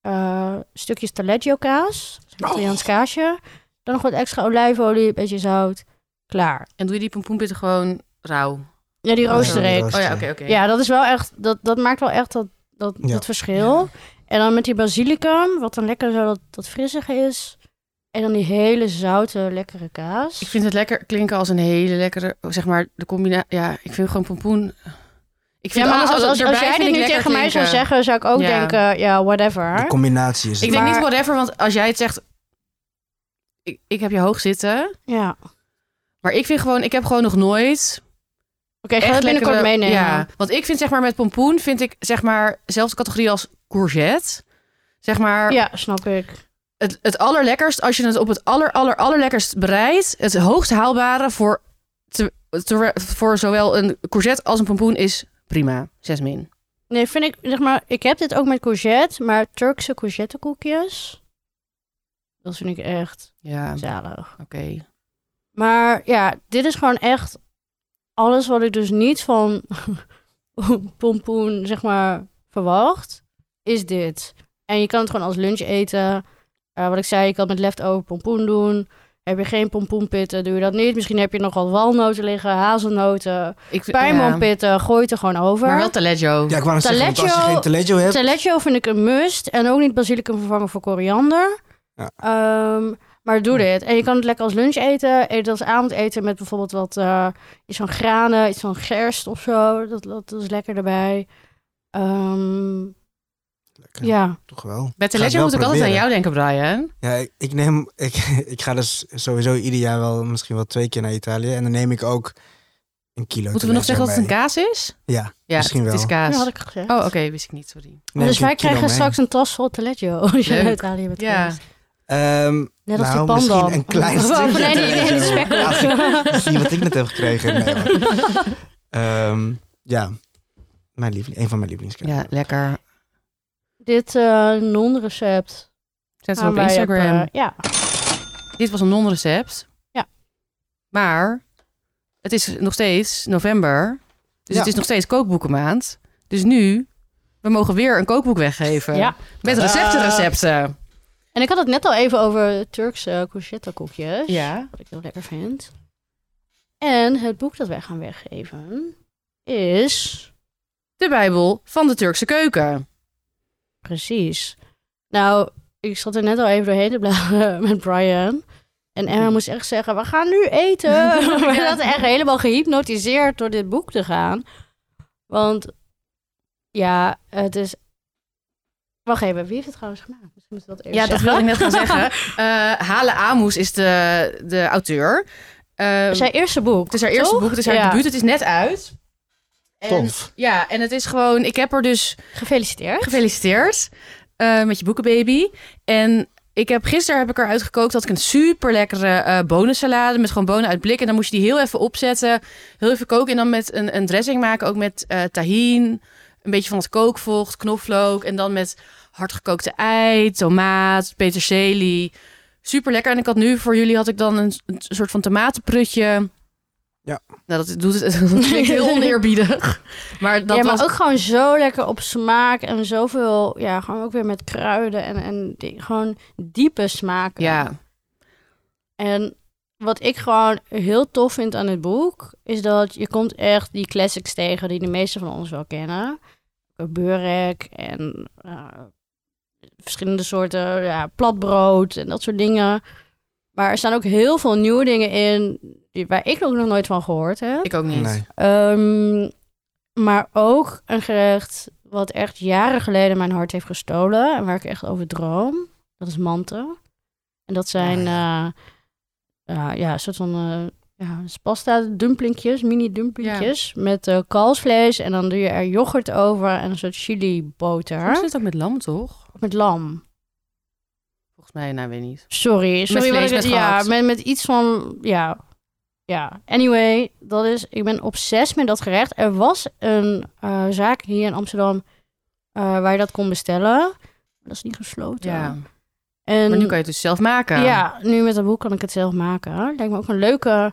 Speaker 1: eh, stukjes taleggio kaas, Italiaans kaasje. Dan nog wat extra olijfolie, een beetje zout. Klaar.
Speaker 2: *laughs* En doe je die pompoenpitten gewoon rauw?
Speaker 1: Ja, die
Speaker 3: Oh,
Speaker 1: rooster ik.
Speaker 3: ja.
Speaker 2: Oh ja, oké, oké.
Speaker 1: Ja, dat is wel echt. Dat, dat maakt wel echt dat, dat,
Speaker 3: Ja.
Speaker 1: dat verschil. En dan met die basilicum, wat dan lekker zo dat, dat frissige is. En dan die hele zoute, lekkere kaas.
Speaker 2: Ik vind het lekker klinken als een hele lekkere, zeg maar, de combinatie. Ja, ik vind gewoon pompoen.
Speaker 1: ja,
Speaker 2: Ik vind
Speaker 1: maar
Speaker 2: alles
Speaker 1: als, als, als,
Speaker 2: erbij
Speaker 1: jij
Speaker 2: vind
Speaker 1: dit
Speaker 2: ik
Speaker 1: nu
Speaker 2: lekker
Speaker 1: tegen mij zou
Speaker 2: klinken.
Speaker 1: zeggen, zou ik ook
Speaker 2: Ja.
Speaker 1: denken, ja,
Speaker 3: De
Speaker 1: whatever.
Speaker 3: combinatie is
Speaker 2: Ik
Speaker 3: het.
Speaker 2: denk
Speaker 1: Maar-
Speaker 2: niet whatever, want als jij het zegt, ik, ik heb je hoog zitten.
Speaker 1: Ja.
Speaker 2: Maar ik vind gewoon, ik heb gewoon nog nooit
Speaker 1: Oké, ga het binnenkort
Speaker 2: lekkere-
Speaker 1: meenemen.
Speaker 2: Ja, want ik vind zeg maar met pompoen vind ik zeg maar zelfs de categorie als courgette. Zeg maar
Speaker 1: Ja, snap ik.
Speaker 2: het, het allerlekkerst als je het op het aller aller allerlekkerst bereidt. Het hoogst haalbare voor, te, te- voor zowel een courgette als een pompoen is prima. Zes min.
Speaker 1: Nee, vind ik, zeg maar, ik heb dit ook met courgette, maar Turkse courgettekoekjes, dat vind ik echt
Speaker 2: Ja, oké.
Speaker 1: zalig. Maar ja, dit is gewoon echt alles wat ik dus niet van *laughs* pompoen, zeg maar, verwacht, is dit. En je kan het gewoon als lunch eten. Eh, wat ik zei, je kan het met leftover pompoen doen. Heb je geen pompoenpitten, doe je dat niet. Misschien heb je nog wat walnoten liggen, hazelnoten,
Speaker 2: Ik, ja.
Speaker 1: pijnboompitten. Gooi het er gewoon over.
Speaker 2: Maar wel taleggio.
Speaker 3: Ja, ik wou nog zeggen, want als je
Speaker 1: Taleggio-
Speaker 3: geen Taleggio hebt...
Speaker 1: Taleggio vind ik een must. En ook niet basilicum vervangen voor koriander.
Speaker 3: Ja.
Speaker 1: Ehm, maar doe dit. En je kan het lekker als lunch eten. Eet het als avondeten met bijvoorbeeld wat... eh, iets van granen, iets van gerst of zo. Dat, dat, dat is lekker erbij. Ehm,
Speaker 3: Lekker,
Speaker 1: ja.
Speaker 3: Toch wel.
Speaker 2: Bij
Speaker 3: Ga het
Speaker 2: taleggio
Speaker 3: wel
Speaker 2: moet ik altijd aan jou
Speaker 3: proberen.
Speaker 2: denken, Brian.
Speaker 3: Ja, ik, ik neem... Ik, *laughs* ik ga dus sowieso ieder jaar wel misschien wel twee keer naar Italië. En dan neem ik ook een kilo
Speaker 2: Moeten we nog zeggen dat het een
Speaker 3: Taleggio
Speaker 2: kaas is?
Speaker 3: mee. Ja,
Speaker 2: Ja,
Speaker 3: Misschien
Speaker 2: het is
Speaker 3: wel.
Speaker 1: Dat
Speaker 2: kaas.
Speaker 1: had ik gezegd.
Speaker 2: Oh, oké, wist ik niet, sorry.
Speaker 3: neem
Speaker 1: dus
Speaker 3: ik
Speaker 1: wij
Speaker 3: een kilo
Speaker 1: krijgen
Speaker 3: mee.
Speaker 1: straks een tas vol Taleggio. Als je
Speaker 2: Leuk.
Speaker 1: uit Italië bent
Speaker 2: Ja.
Speaker 1: geweest.
Speaker 3: Ehm,
Speaker 1: Net als
Speaker 3: nou,
Speaker 1: die pandan.
Speaker 3: misschien een klein
Speaker 1: *laughs* Of-
Speaker 3: stukje
Speaker 1: of nee, die- die- die
Speaker 3: Taleggio.
Speaker 1: spek.
Speaker 3: Ja, Zie je wat ik net heb gekregen? Nee,
Speaker 2: *laughs*
Speaker 3: hoor. Ehm, ja, mijn lieveling, een van mijn lievelingskringen.
Speaker 2: Ja, lekker.
Speaker 1: Dit eh, non-recept.
Speaker 2: Zet ze
Speaker 1: gaan
Speaker 2: op
Speaker 1: wij op,
Speaker 2: Instagram.
Speaker 1: eh, ja.
Speaker 2: Dit was een non-recept.
Speaker 1: Ja.
Speaker 2: Maar het is nog steeds november. Dus
Speaker 3: Ja.
Speaker 2: het is nog steeds kookboekenmaand. Dus nu, we mogen weer een kookboek weggeven.
Speaker 1: ja.
Speaker 2: Met
Speaker 3: Tadaa.
Speaker 2: recepten, recepten.
Speaker 1: En ik had het net al even over Turkse courgette koekjes.
Speaker 2: Ja.
Speaker 1: Wat ik heel lekker vind. En het boek dat wij gaan weggeven is...
Speaker 2: De Bijbel van de Turkse keuken.
Speaker 1: Precies. Nou, ik zat er net al even doorheen te bladeren *laughs* met Brian. En Emma moest echt zeggen, we gaan nu eten.
Speaker 2: *laughs*
Speaker 1: *laughs* We
Speaker 2: Hmm. Ja.
Speaker 1: zaten echt helemaal gehypnotiseerd door dit boek te gaan. Want Ja, het is... Wacht even, wie heeft het trouwens gemaakt? Misschien moeten we dat
Speaker 2: Ja,
Speaker 1: eerst
Speaker 2: dat wilde ik net gaan zeggen. *laughs*
Speaker 1: *laughs*
Speaker 2: Eh, Hale Amoes is de, de auteur. Eh,
Speaker 1: Het is haar eerste boek.
Speaker 2: het is haar eerste
Speaker 1: toch?
Speaker 2: boek, het is haar
Speaker 1: Ja.
Speaker 2: debuut, het is net uit. En-
Speaker 3: Tof.
Speaker 2: Ja, en het is gewoon... Ik heb er dus
Speaker 1: Gefeliciteerd.
Speaker 2: Gefeliciteerd eh, met je boekenbaby. En ik heb, gisteren heb ik eruit gekookt dat ik een super lekkere eh bonensalade met gewoon bonen uit blik. En dan moest je die heel even opzetten, heel even koken. En dan met een, een dressing maken, ook met eh tahin, een beetje van het kookvocht, knoflook. En dan met hardgekookte ei, tomaat, peterselie. Super lekker. En ik had nu voor jullie had ik dan een, een soort van tomatenprutje.
Speaker 3: Ja.
Speaker 2: Nou, dat doet het. *laughs* Dat klinkt heel oneerbiedig. Maar dat
Speaker 1: ja, maar
Speaker 2: was
Speaker 1: ook gewoon zo lekker op smaak en zoveel, ja, gewoon ook weer met kruiden en, en die- gewoon diepe smaken.
Speaker 2: Ja,
Speaker 1: En wat ik gewoon heel tof vind aan het boek, is dat je komt echt die classics tegen die de meeste van ons wel kennen. Burek en eh, verschillende soorten ja, platbrood en dat soort dingen. Maar er staan ook heel veel nieuwe dingen in die, waar ik ook nog nooit van gehoord heb.
Speaker 2: ik ook niet.
Speaker 3: Nee.
Speaker 1: Ehm, maar ook een gerecht wat echt jaren geleden mijn hart heeft gestolen. En waar ik echt over droom. Dat is manten. En dat zijn
Speaker 3: Ah,
Speaker 1: eh, ja, ja, een soort van eh, ja, dus pasta dumplingjes, mini dumplingjes. Met eh, kalfsvlees en dan doe je er yoghurt over en een soort chili
Speaker 2: Soms
Speaker 1: boter.
Speaker 2: zit het ook met lam, toch?
Speaker 1: Met lam.
Speaker 2: Volgens mij, nou weet niet.
Speaker 1: Sorry, sorry
Speaker 2: vlees,
Speaker 1: wat ik
Speaker 2: met
Speaker 1: het- ja,
Speaker 2: gehakt.
Speaker 1: met, met iets van ja. Ja, anyway, dat is ik ben obsessief met dat gerecht. Er was een eh, zaak hier in Amsterdam eh, waar je dat kon bestellen. Maar Dat is niet gesloten.
Speaker 2: Ja.
Speaker 1: En
Speaker 2: Maar nu kan je het dus zelf maken.
Speaker 1: ja, nu met dat boek kan ik het zelf maken. Lijkt me ook een leuke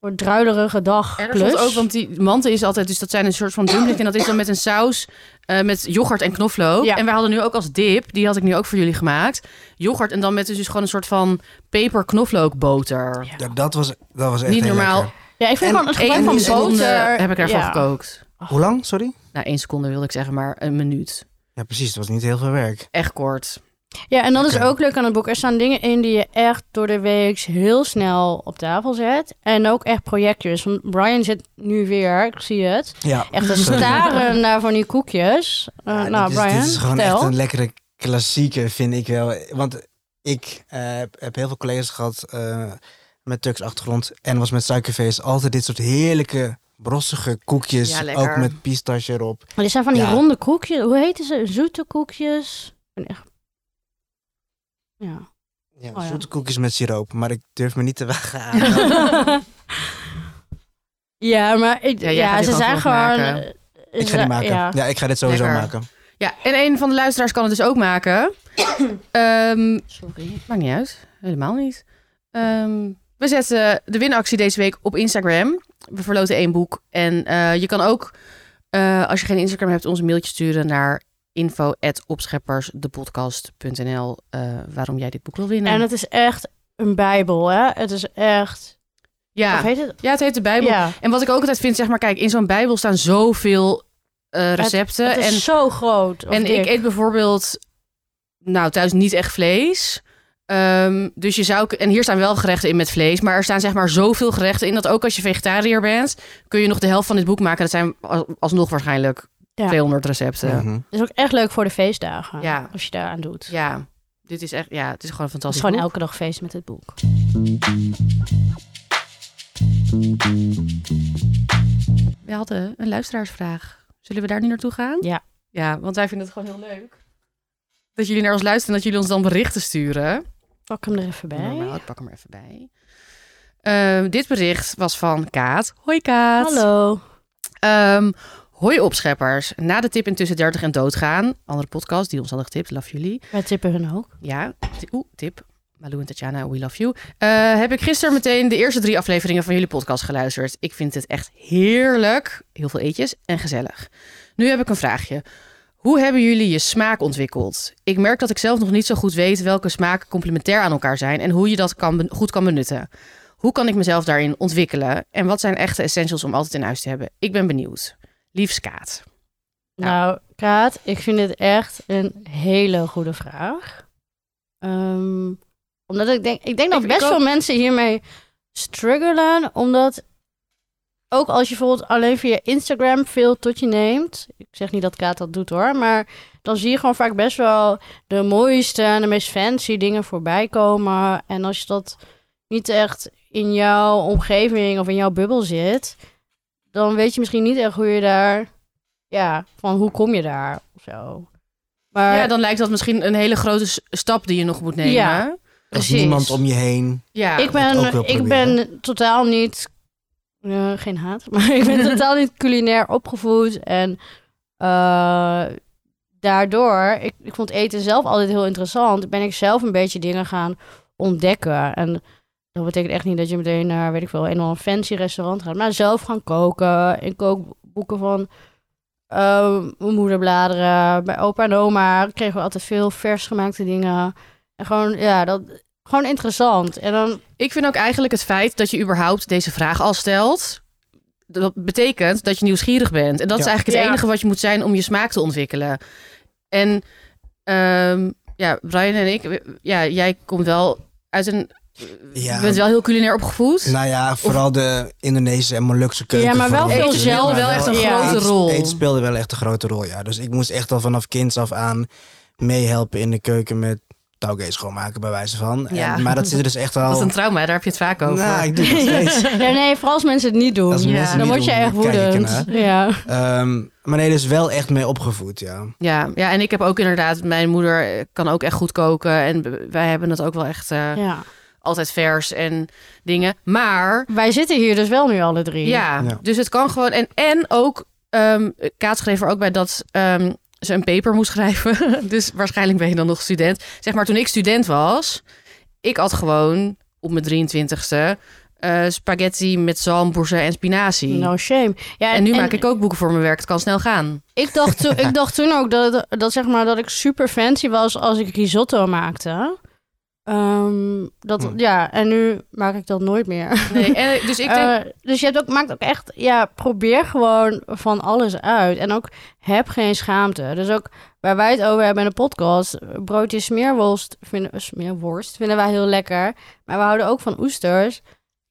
Speaker 1: soort druilerige dag.
Speaker 2: En er
Speaker 1: klus.
Speaker 2: stond ook, want die manten is altijd, dus dat zijn een soort van dumplings. En dat is dan met een saus eh, met yoghurt en knoflook.
Speaker 1: Ja.
Speaker 2: En we hadden nu ook als dip, die had ik nu ook voor jullie gemaakt. Yoghurt en dan met dus, dus gewoon een soort van peper knoflookboter.
Speaker 3: Ja, dat was, dat was echt
Speaker 2: Niet
Speaker 3: heel
Speaker 2: normaal.
Speaker 3: lekker.
Speaker 1: ja, ik vind
Speaker 3: en
Speaker 1: gewoon het gebruik
Speaker 2: Eén
Speaker 1: van
Speaker 3: die
Speaker 1: boter.
Speaker 3: seconde
Speaker 2: seconde heb ik daarvan
Speaker 1: ja.
Speaker 2: gekookt.
Speaker 3: Hoe lang, sorry?
Speaker 2: Nou, één seconde wilde ik zeggen, maar een minuut.
Speaker 3: Ja, precies. Het was niet heel veel werk.
Speaker 2: Echt kort.
Speaker 1: Ja, en dat is
Speaker 3: Oké.
Speaker 1: ook leuk aan het boek. Er staan dingen in die je echt door de week heel snel op tafel zet. En ook echt projectjes. Want Brian zit nu weer, ik zie het,
Speaker 3: Ja.
Speaker 1: echt te
Speaker 3: *laughs* Sorry.
Speaker 1: staren naar van die koekjes. Eh,
Speaker 3: Ja,
Speaker 1: nou,
Speaker 3: dit is,
Speaker 1: Brian,
Speaker 3: dit is gewoon
Speaker 1: vertel.
Speaker 3: echt een lekkere klassieke, vind ik wel. Want ik eh, heb, heb heel veel collega's gehad eh, met Turks achtergrond en was met suikerfeest altijd dit soort heerlijke brossige koekjes,
Speaker 2: Ja, lekker.
Speaker 3: ook met pistache erop.
Speaker 1: Maar dit zijn van die
Speaker 3: Ja.
Speaker 1: ronde koekjes. Hoe heten ze? Zoete koekjes. Ik ben echt... Ja. *laughs*
Speaker 3: Ja,
Speaker 1: Oh, ja.
Speaker 3: Zoete koekjes met siroop, maar ik durf me niet te wagen
Speaker 2: *laughs*
Speaker 3: aan.
Speaker 1: ja, maar ik,
Speaker 2: Ja,
Speaker 1: ja,
Speaker 2: jij gaat
Speaker 1: ze
Speaker 2: dit
Speaker 1: zijn
Speaker 2: alsnog
Speaker 1: gewoon...
Speaker 2: maken.
Speaker 1: eh,
Speaker 3: ik
Speaker 1: ze
Speaker 3: ga die
Speaker 1: zijn-
Speaker 3: maken. Ja.
Speaker 1: Ja.
Speaker 3: ik ga dit sowieso
Speaker 2: Lekker.
Speaker 3: maken.
Speaker 2: Ja, en een van de luisteraars kan het dus ook *coughs* maken. Ehm
Speaker 1: Sorry.
Speaker 2: Maakt niet uit. Helemaal niet. Ehm, we zetten de winactie deze week op Instagram. We verloten één boek. En eh, je kan ook, eh, als je geen Instagram hebt, ons een mailtje sturen naar info.opscheppersdepodcast.nl eh, waarom jij dit boek wil winnen.
Speaker 1: En het is echt een bijbel, hè? Het is echt... Of
Speaker 2: ja.
Speaker 1: heet het?
Speaker 2: ja, het heet de Bijbel.
Speaker 1: Ja.
Speaker 2: En wat ik ook altijd vind, zeg maar, kijk, in zo'n Bijbel staan zoveel eh, recepten.
Speaker 1: Het is
Speaker 2: en
Speaker 1: zo groot. of
Speaker 2: En ik
Speaker 1: dik.
Speaker 2: eet bijvoorbeeld, nou thuis niet echt vlees. Ehm, dus je zou, k- en hier staan wel gerechten in met vlees, maar er staan zeg maar zoveel gerechten in dat ook als je vegetariër bent, kun je nog de helft van dit boek maken. Dat zijn al- alsnog waarschijnlijk
Speaker 1: Ja.
Speaker 2: 200 recepten.
Speaker 3: Mhm.
Speaker 1: Het is ook echt leuk voor de feestdagen.
Speaker 2: Ja.
Speaker 1: Als je daaraan doet.
Speaker 2: Ja, dit is echt, ja, het is gewoon een
Speaker 1: Het is
Speaker 2: fantastisch.
Speaker 1: gewoon
Speaker 2: boek.
Speaker 1: elke dag feest met het boek.
Speaker 2: We hadden een luisteraarsvraag. Zullen we daar nu naartoe gaan?
Speaker 1: Ja.
Speaker 2: Ja, want wij vinden het gewoon heel leuk. Dat jullie naar ons luisteren en dat jullie ons dan berichten sturen.
Speaker 1: Pak hem er even bij.
Speaker 2: Normaal, ik pak hem er even bij. Ehm, dit bericht was van Kaat. Hoi Kaat.
Speaker 1: Hallo.
Speaker 2: Ehm, hoi opscheppers. Na de tip in tussen 30 en doodgaan. Andere podcast die ons hadden getipt. Love jullie.
Speaker 1: Wij tippen hun ook.
Speaker 2: Ja, t- oeh, tip. Malou en Tatjana, we love you. Eh, heb ik gisteren meteen de eerste drie afleveringen van jullie podcast geluisterd. Ik vind het echt heerlijk. Heel veel eetjes en gezellig. Nu heb ik een vraagje. Hoe hebben jullie je smaak ontwikkeld? Ik merk dat ik zelf nog niet zo goed weet welke smaken complementair aan elkaar zijn en hoe je dat kan ben- goed kan benutten. Hoe kan ik mezelf daarin ontwikkelen? En wat zijn echte essentials om altijd in huis te hebben? Ik ben benieuwd. Liefs Kaat. Ja.
Speaker 1: Nou, Kaat, ik vind dit echt een hele goede vraag. Ehm, omdat ik denk, ik denk dat
Speaker 2: Ik- ik
Speaker 1: best
Speaker 2: ook.
Speaker 1: veel mensen hiermee struggelen. Omdat ook als je bijvoorbeeld alleen via Instagram veel tot je neemt. Ik zeg niet dat Kaat dat doet hoor, maar dan zie je gewoon vaak best wel de mooiste en de meest fancy dingen voorbij komen. En als je dat niet echt in jouw omgeving of in jouw bubbel zit, dan weet je misschien niet echt hoe je daar, ja, van hoe kom je daar of zo. Maar
Speaker 2: Ja, Eh, dan lijkt dat misschien een hele grote s- stap die je nog moet nemen.
Speaker 1: Ja.
Speaker 3: Als
Speaker 1: precies.
Speaker 3: niemand om je heen.
Speaker 1: ik
Speaker 2: Ja.
Speaker 3: dat ook wel
Speaker 1: ben, ik ben
Speaker 3: proberen.
Speaker 1: totaal niet. eh, geen haat, *laughs* maar ik
Speaker 3: *laughs*
Speaker 1: ben totaal niet culinair opgevoed. En eh, daardoor, ik, ik vond eten zelf altijd heel interessant. Ben ik zelf een beetje dingen gaan ontdekken. En dat betekent echt niet dat je meteen naar, weet ik veel, een of ander fancy restaurant gaat. Maar zelf gaan koken. In kookboeken van eh, mijn moeder bladeren. Bij opa en oma kregen we altijd veel vers gemaakte dingen. En gewoon, ja, dat, gewoon interessant. En dan
Speaker 2: Ik vind ook eigenlijk het feit dat je überhaupt deze vraag al stelt. Dat betekent dat je nieuwsgierig bent. En dat is
Speaker 3: Ja.
Speaker 2: eigenlijk het
Speaker 1: Ja.
Speaker 2: enige wat je moet zijn om je smaak te ontwikkelen. En ehm, ja, Brian en ik, ja, jij komt wel uit een.
Speaker 3: Ja.
Speaker 2: Je bent wel heel culinair opgevoed.
Speaker 3: Nou ja, vooral de Indonesische en Molukse keuken.
Speaker 1: Ja, maar wel
Speaker 3: vooral
Speaker 1: veel
Speaker 3: natuurlijk,
Speaker 1: zelf,
Speaker 3: maar
Speaker 1: wel echt een
Speaker 3: eet-
Speaker 2: grote rol.
Speaker 3: Eet speelde wel echt een grote rol, ja. Dus ik moest echt al vanaf kinds af aan meehelpen in de keuken met taugé schoonmaken, bij wijze van. En-
Speaker 2: Ja.
Speaker 3: maar dat zit er dus
Speaker 2: *laughs*
Speaker 3: echt al...
Speaker 2: Dat is een trauma, daar heb je het vaak over.
Speaker 3: Nou, ik doe dat steeds.
Speaker 2: *laughs*
Speaker 1: Ja, nee, vooral als mensen het niet doen.
Speaker 3: Als
Speaker 2: Ja.
Speaker 3: mensen het
Speaker 1: Dan
Speaker 3: niet
Speaker 1: word je
Speaker 3: doen,
Speaker 1: echt
Speaker 3: dan kijk ik
Speaker 1: woedend.
Speaker 3: ernaar.
Speaker 1: Ja.
Speaker 3: Ehm, maar nee, dus wel echt mee opgevoed, ja.
Speaker 2: Ja, ja, en ik heb ook inderdaad, mijn moeder eh, kan ook echt goed koken. En b- wij hebben het ook wel echt eh,
Speaker 1: ja.
Speaker 2: altijd vers en dingen. Maar
Speaker 1: Wij zitten hier dus wel nu alle drie.
Speaker 2: ja,
Speaker 3: Ja.
Speaker 2: dus het kan gewoon. En, en ook, ehm Kaat schreef er ook bij dat ehm, ze een paper moest schrijven. *laughs* dus waarschijnlijk ben je dan nog student. Zeg maar, toen ik student was, ik had gewoon op mijn 23ste eh, spaghetti met zalmboersen en spinazie.
Speaker 1: No shame. Ja,
Speaker 2: Nou, en nu maak ik ook boeken voor mijn werk. Het kan snel gaan.
Speaker 1: Ik dacht, toen, ik dacht toen ook dat, het- dat, zeg maar, dat ik super fancy was als ik risotto maakte. Ehm, dat,
Speaker 3: Hm.
Speaker 1: Ja, en nu maak ik dat nooit meer.
Speaker 2: Nee, en, dus ik denk,
Speaker 1: Eh, dus je hebt ook, maakt ook echt, ja, probeer gewoon van alles uit. En ook heb geen schaamte. Dus ook waar wij het over hebben in de podcast, broodje smeerworst vinden, eh, smeerworst vinden wij heel lekker. Maar we houden ook van oesters.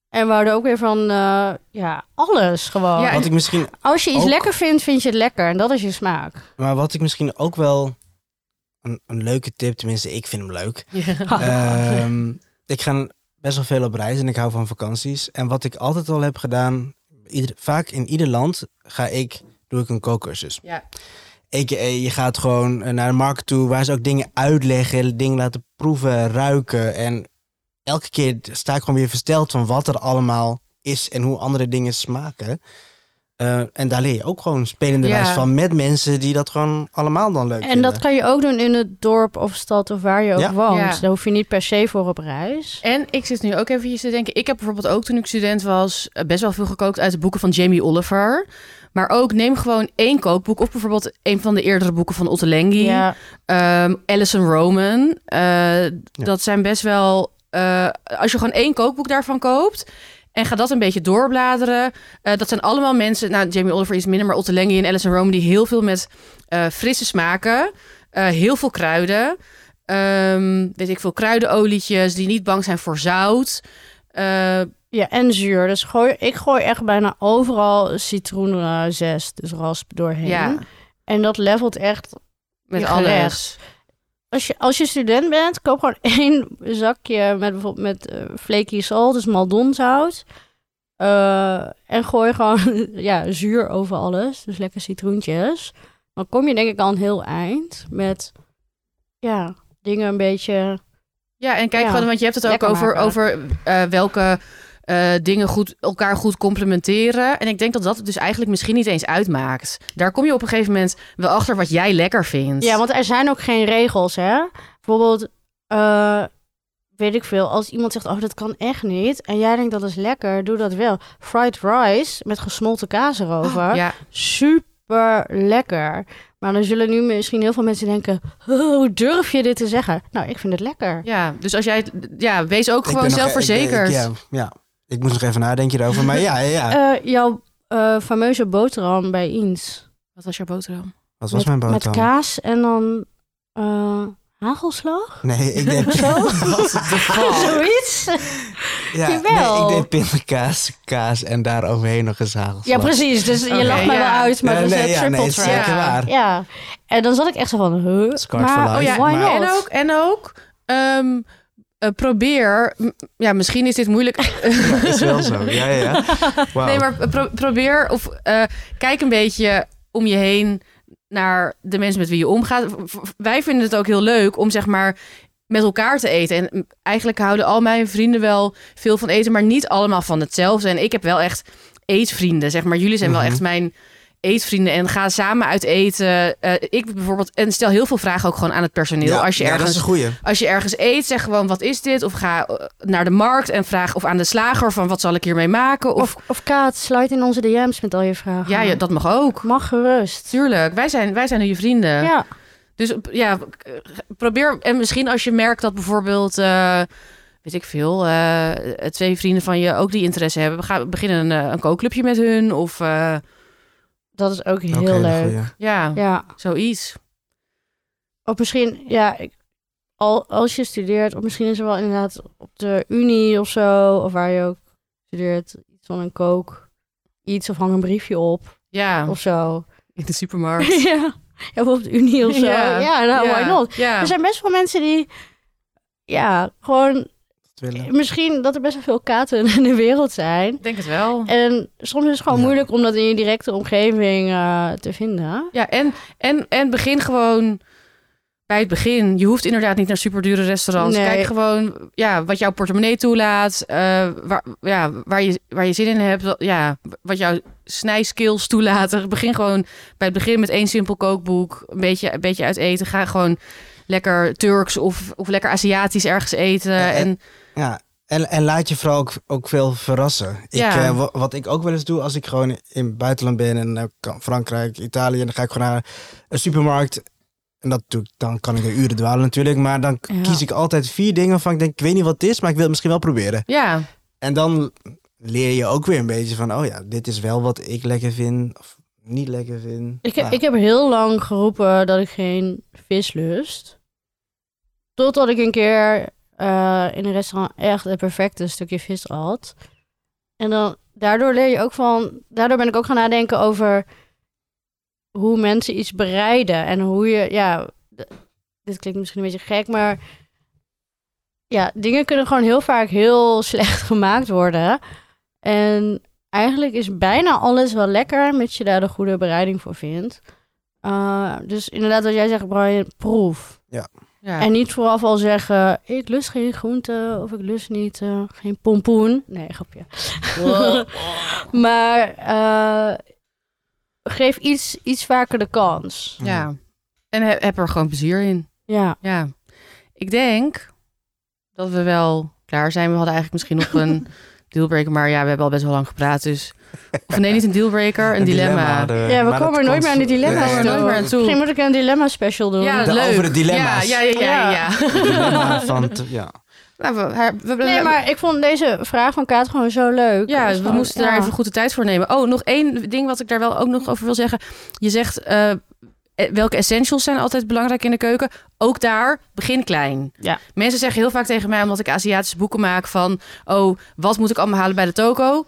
Speaker 1: En we houden ook weer van, eh, ja, alles gewoon.
Speaker 2: Ja, en-
Speaker 3: Wat ik misschien
Speaker 1: Als je iets
Speaker 3: ook-
Speaker 1: lekker vindt, vind je het lekker. En dat is je smaak.
Speaker 3: Maar wat ik misschien ook wel een, een leuke tip, tenminste, ik vind hem leuk.
Speaker 2: Eh,
Speaker 1: Oh,
Speaker 3: Ehm, ik ga best wel veel op reis en ik hou van vakanties. En wat ik altijd al heb gedaan, ieder- vaak in ieder land ga ik, doe ik een kookcursus.
Speaker 2: Ja.
Speaker 3: A.k.a. je gaat gewoon eh, naar de markt toe waar ze ook dingen uitleggen, dingen laten proeven, ruiken. En elke keer sta ik gewoon weer versteld van wat er allemaal is en hoe andere dingen smaken. Eh, en daar leer je ook gewoon spelende
Speaker 2: Ja.
Speaker 3: wijs van met mensen die dat gewoon allemaal dan leuk
Speaker 1: En
Speaker 3: vinden.
Speaker 1: dat kan je ook doen in het dorp of stad of waar je ook
Speaker 3: Ja.
Speaker 1: woont.
Speaker 2: Ja.
Speaker 1: Daar hoef je niet per se voor op reis.
Speaker 2: En ik zit nu ook even te denken. Ik heb bijvoorbeeld ook toen ik student was eh, best wel veel gekookt uit de boeken van Jamie Oliver. Maar ook neem gewoon één kookboek. Of bijvoorbeeld een van de eerdere boeken van Otto Lengi.
Speaker 1: Ja,
Speaker 2: ehm, Alison Roman. Eh, Dat zijn best wel... eh, als je gewoon één kookboek daarvan koopt... En ga dat een beetje doorbladeren. eh, dat zijn allemaal mensen... Nou, Jamie Oliver is minder, maar Otto Lengi en Alison Roman... die heel veel met eh, frisse smaken... eh, heel veel kruiden... ehm, weet ik veel, kruidenolietjes... die niet bang zijn voor zout. Eh,
Speaker 1: ja, en zuur. Dus gooi, ik gooi echt bijna overal citroenzest, dus rasp doorheen.
Speaker 2: ja,
Speaker 1: En dat levelt echt
Speaker 2: met
Speaker 1: Je
Speaker 2: alles.
Speaker 1: gerecht. Als je, als je student bent, koop gewoon *laughs* één zakje met bijvoorbeeld met eh, flaky salt, dus maldonzout. Eh, en gooi gewoon *laughs* ja, zuur over alles, dus lekker citroentjes. Dan kom je denk ik al een heel eind met ja, dingen een beetje...
Speaker 2: Ja, en kijk
Speaker 1: Ja,
Speaker 2: gewoon, want je hebt het ook
Speaker 1: lekker
Speaker 2: over,
Speaker 1: maken.
Speaker 2: over eh, welke eh, dingen goed, elkaar goed complementeren. En ik denk dat dat het dus eigenlijk misschien niet eens uitmaakt. Daar kom je op een gegeven moment wel achter wat jij lekker vindt.
Speaker 1: Ja, want er zijn ook geen regels, hè. Bijvoorbeeld, eh, weet ik veel, als iemand zegt, oh dat kan echt niet. En jij denkt dat is lekker, doe dat wel. Fried rice met gesmolten kaas erover.
Speaker 3: Ah,
Speaker 2: Ja,
Speaker 1: super lekker. Maar dan zullen nu misschien heel veel mensen denken: "Oh, hoe durf je dit te zeggen? Nou, ik vind het lekker.
Speaker 2: ja, dus als jij, het- ja, wees ook
Speaker 3: Ik
Speaker 2: gewoon
Speaker 3: ben nog-
Speaker 2: zelfverzekerd.
Speaker 3: ik- ik- ja, ja, ik moest nog even nadenken daarover. Maar ja, ja, ja.
Speaker 1: Eh, jouw eh, fameuze boterham bij Eens.
Speaker 2: Wat was jouw boterham?
Speaker 3: Wat was
Speaker 1: met,
Speaker 3: mijn boterham?
Speaker 1: Met kaas en dan eh, hagelslag? *laughs*
Speaker 3: *laughs* Nee, ik denk...
Speaker 1: Zoiets?
Speaker 3: Ja,
Speaker 1: Jawel.
Speaker 3: Nee, ik deed pindakaas, kaas en daar overheen nog eens hagelslag.
Speaker 1: Ja, precies. Dus
Speaker 2: Oké,
Speaker 1: je lacht mij
Speaker 2: ja.
Speaker 1: wel uit, maar
Speaker 3: Nee,
Speaker 1: dat is
Speaker 3: nee,
Speaker 1: een
Speaker 3: ja,
Speaker 1: triple
Speaker 3: nee,
Speaker 1: track.
Speaker 3: zeker
Speaker 2: Ja.
Speaker 3: waar.
Speaker 1: Ja. En dan zat ik echt zo van, huh?
Speaker 3: Scarred for
Speaker 1: Maar
Speaker 3: life.
Speaker 1: oh
Speaker 2: Oh ja,
Speaker 1: ja, why
Speaker 3: maar-
Speaker 1: not?
Speaker 2: En ook, en ook ehm, eh, probeer, m- ja, misschien is dit moeilijk.
Speaker 3: Ja, is wel zo. Ja,
Speaker 1: *laughs*
Speaker 3: ja, ja. Wauw.
Speaker 2: Nee, maar pro- probeer of eh, kijk een beetje om je heen naar de mensen met wie je omgaat. V- v- Wij vinden het ook heel leuk om zeg maar met elkaar te eten. En mm, eigenlijk houden al mijn vrienden wel veel van eten, maar niet allemaal van hetzelfde. En ik heb wel echt eetvrienden, zeg maar. Jullie zijn wel
Speaker 3: Mhm.
Speaker 2: echt mijn eetvrienden en gaan samen uit eten. Eh, ik bijvoorbeeld, en stel heel veel vragen ook gewoon aan het personeel.
Speaker 3: Ja,
Speaker 2: als je
Speaker 3: ja,
Speaker 2: ergens
Speaker 3: dat is een goeie.
Speaker 2: als je ergens eet, zeg gewoon wat is dit? Of ga eh, naar de markt en vraag of aan de slager van wat zal ik hiermee maken?
Speaker 3: Oh,
Speaker 2: Of,
Speaker 1: Of, of Kaat, sluit in onze DM's met al je vragen.
Speaker 2: ja, ja, dat mag ook.
Speaker 1: mag gerust.
Speaker 2: Tuurlijk, wij zijn, wij zijn je vrienden.
Speaker 1: Ja.
Speaker 2: Dus ja, probeer. En misschien als je merkt dat bijvoorbeeld, eh, weet ik veel, eh, twee vrienden van je ook die interesse hebben. Ga beginnen een, eh, een kookclubje met hun. Of eh,
Speaker 1: Dat is ook heel
Speaker 3: Ook een hele
Speaker 1: leuk.
Speaker 3: goeie.
Speaker 2: ja,
Speaker 1: Ja.
Speaker 2: zoiets.
Speaker 1: Of misschien, ja, ik- al, als je studeert, of misschien is er wel inderdaad op de unie of zo, of waar je ook studeert, iets van een kook, iets of hang een briefje op
Speaker 2: Ja,
Speaker 1: of zo.
Speaker 2: in de
Speaker 1: *laughs*
Speaker 2: supermarkt.
Speaker 1: ja. ja, of op de unie of zo.
Speaker 2: Ja.
Speaker 1: Ja, nou,
Speaker 2: ja.
Speaker 1: why not?
Speaker 2: Ja.
Speaker 1: Er zijn best wel mensen die, ja, gewoon,
Speaker 3: Dat willen.
Speaker 1: misschien dat er best wel veel katen in de wereld zijn.
Speaker 2: ik denk het wel.
Speaker 1: En soms is het gewoon
Speaker 3: Ja.
Speaker 1: moeilijk om dat in je directe omgeving eh, te vinden.
Speaker 2: Ja, en, en, en begin gewoon bij het begin. Je hoeft inderdaad niet naar superdure restaurants.
Speaker 1: Nee.
Speaker 2: Kijk gewoon ja, wat jouw portemonnee toelaat. eh, waar, ja, waar, je, waar je zin in hebt. wat- Ja, wat jouw snijskills toelaten. Begin gewoon bij het begin met één simpel kookboek. Een beetje, een beetje uit eten. Ga gewoon lekker Turks of, of lekker Aziatisch ergens eten.
Speaker 3: Ja, en-
Speaker 2: en,
Speaker 3: Ja, en, en laat je vooral ook, ook veel verrassen. Ik,
Speaker 2: Ja.
Speaker 3: eh, wa- wat ik ook wel eens doe als ik gewoon in het buitenland ben en dan kan Frankrijk, Italië, en dan ga ik gewoon naar een supermarkt. En dat doe ik, dan kan ik er uren dwalen natuurlijk. Maar dan k-
Speaker 1: Ja.
Speaker 3: kies ik altijd vier dingen waarvan ik denk, ik weet niet wat het is, maar ik wil het misschien wel proberen.
Speaker 2: ja,
Speaker 3: En dan leer je ook weer een beetje van, oh ja, dit is wel wat ik lekker vind of niet lekker vind.
Speaker 1: Ik, heb
Speaker 3: Nou,
Speaker 1: ik heb heel lang geroepen dat ik geen vis lust. Totdat ik een keer eh, in een restaurant echt het perfecte stukje vis had. En dan, daardoor leer je ook van... Daardoor ben ik ook gaan nadenken over hoe mensen iets bereiden. En hoe je, ja... d- Dit klinkt misschien een beetje gek, maar... Ja, dingen kunnen gewoon heel vaak heel *laughs* slecht gemaakt worden. En eigenlijk is bijna alles wel lekker, mits je daar de goede bereiding voor vindt. Eh, dus inderdaad, wat jij zegt, Brian, proef.
Speaker 2: ja.
Speaker 1: En niet vooraf al zeggen, ik lust geen groente of ik lust niet eh, geen pompoen. Nee, grapje. maar eh, geef iets, iets vaker de kans.
Speaker 2: *laughs*
Speaker 3: Mm.
Speaker 2: ja. en he- heb er gewoon plezier in.
Speaker 1: Ja,
Speaker 2: Ja, ik denk dat we wel klaar zijn. We hadden eigenlijk misschien nog een dealbreaker, maar ja, we hebben al best wel lang gepraat, dus... Of nee, niet een dealbreaker, een, dilemma.
Speaker 3: hadden
Speaker 1: ja we
Speaker 3: maar
Speaker 1: komen
Speaker 3: dat
Speaker 1: er nooit meer aan de
Speaker 3: kon-
Speaker 1: dilemma's toe.
Speaker 2: Nee, we komen er nooit meer aan toe.
Speaker 1: Misschien moet ik een dilemma special doen.
Speaker 2: Ja,
Speaker 3: De-
Speaker 2: leuk.
Speaker 3: over de dilemma's.
Speaker 2: Ja, ja, ja. ja, ja.
Speaker 3: Dilemma van, t- ja.
Speaker 2: *laughs* Nou, we, we, we-
Speaker 1: Nee, maar ik vond deze vraag van Kaat gewoon zo leuk.
Speaker 2: Ja,
Speaker 1: Dat
Speaker 2: we
Speaker 1: is gewoon-
Speaker 2: moesten daar
Speaker 1: ja.
Speaker 2: even goed de tijd voor nemen. Oh, nog één ding wat ik daar wel ook nog over wil zeggen. Je zegt, eh, eh, welke essentials zijn altijd belangrijk in de keuken? Ook daar, begin klein.
Speaker 1: Ja.
Speaker 2: Mensen zeggen heel vaak tegen mij, omdat ik Aziatische boeken maak, van... Oh, wat moet ik allemaal halen bij de toko?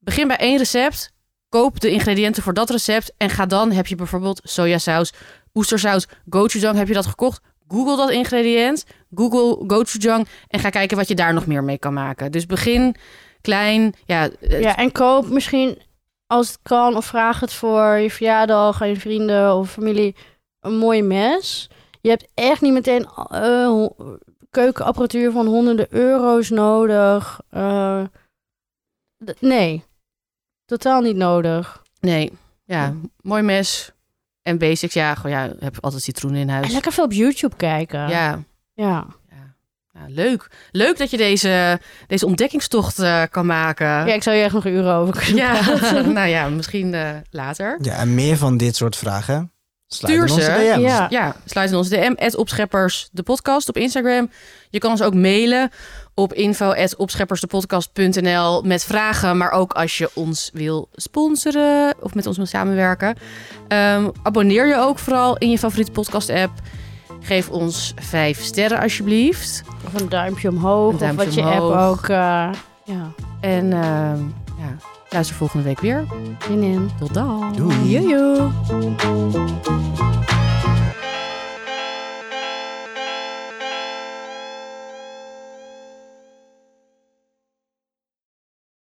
Speaker 2: Begin bij één recept. Koop de ingrediënten voor dat recept. En ga dan, heb je bijvoorbeeld sojasaus, oestersaus, gochujang. Heb je dat gekocht? Google dat ingrediënt. Google gochujang. En ga kijken wat je daar nog meer mee kan maken. Dus begin klein. Ja, eh,
Speaker 1: Ja, en koop misschien als het kan of vraag het voor je verjaardag aan je vrienden of familie een mooi mes. Je hebt echt niet meteen eh, ho- keukenapparatuur van honderden euro's nodig. Eh, d- nee, totaal niet nodig.
Speaker 2: Nee, ja,
Speaker 1: Ja.
Speaker 2: mooi mes en basics. Ja, gewoon ja, heb altijd citroenen in
Speaker 1: En
Speaker 2: huis.
Speaker 1: lekker veel op YouTube kijken.
Speaker 2: Ja,
Speaker 1: ja.
Speaker 2: ja. Ja, leuk. Leuk dat je deze, deze ontdekkingstocht eh, kan maken.
Speaker 1: Ja, ik zou hier echt nog uren over kunnen
Speaker 2: Ja,
Speaker 1: praten.
Speaker 2: *laughs* nou ja, misschien eh, later.
Speaker 3: Ja, en meer van dit soort vragen. Sluit in
Speaker 2: Stuur
Speaker 3: onze
Speaker 2: ze.
Speaker 3: DM's.
Speaker 1: Ja.
Speaker 2: Ja, sluit in onze DM, at opscheppers de podcast op Instagram. Je kan ons ook mailen op info at opscheppersdepodcast.nl met vragen, maar ook als je ons wil sponsoren of met ons wil samenwerken. Ehm, abonneer je ook vooral in je favoriete podcast app. Geef ons vijf sterren alsjeblieft.
Speaker 1: Of een duimpje omhoog.
Speaker 2: Een duimpje
Speaker 1: of wat je
Speaker 2: omhoog.
Speaker 1: app ook eh, Ja,
Speaker 2: En ehm, ja, luister volgende week weer.
Speaker 1: zin in.
Speaker 2: Tot dan.
Speaker 3: Doei.
Speaker 1: Joejoe.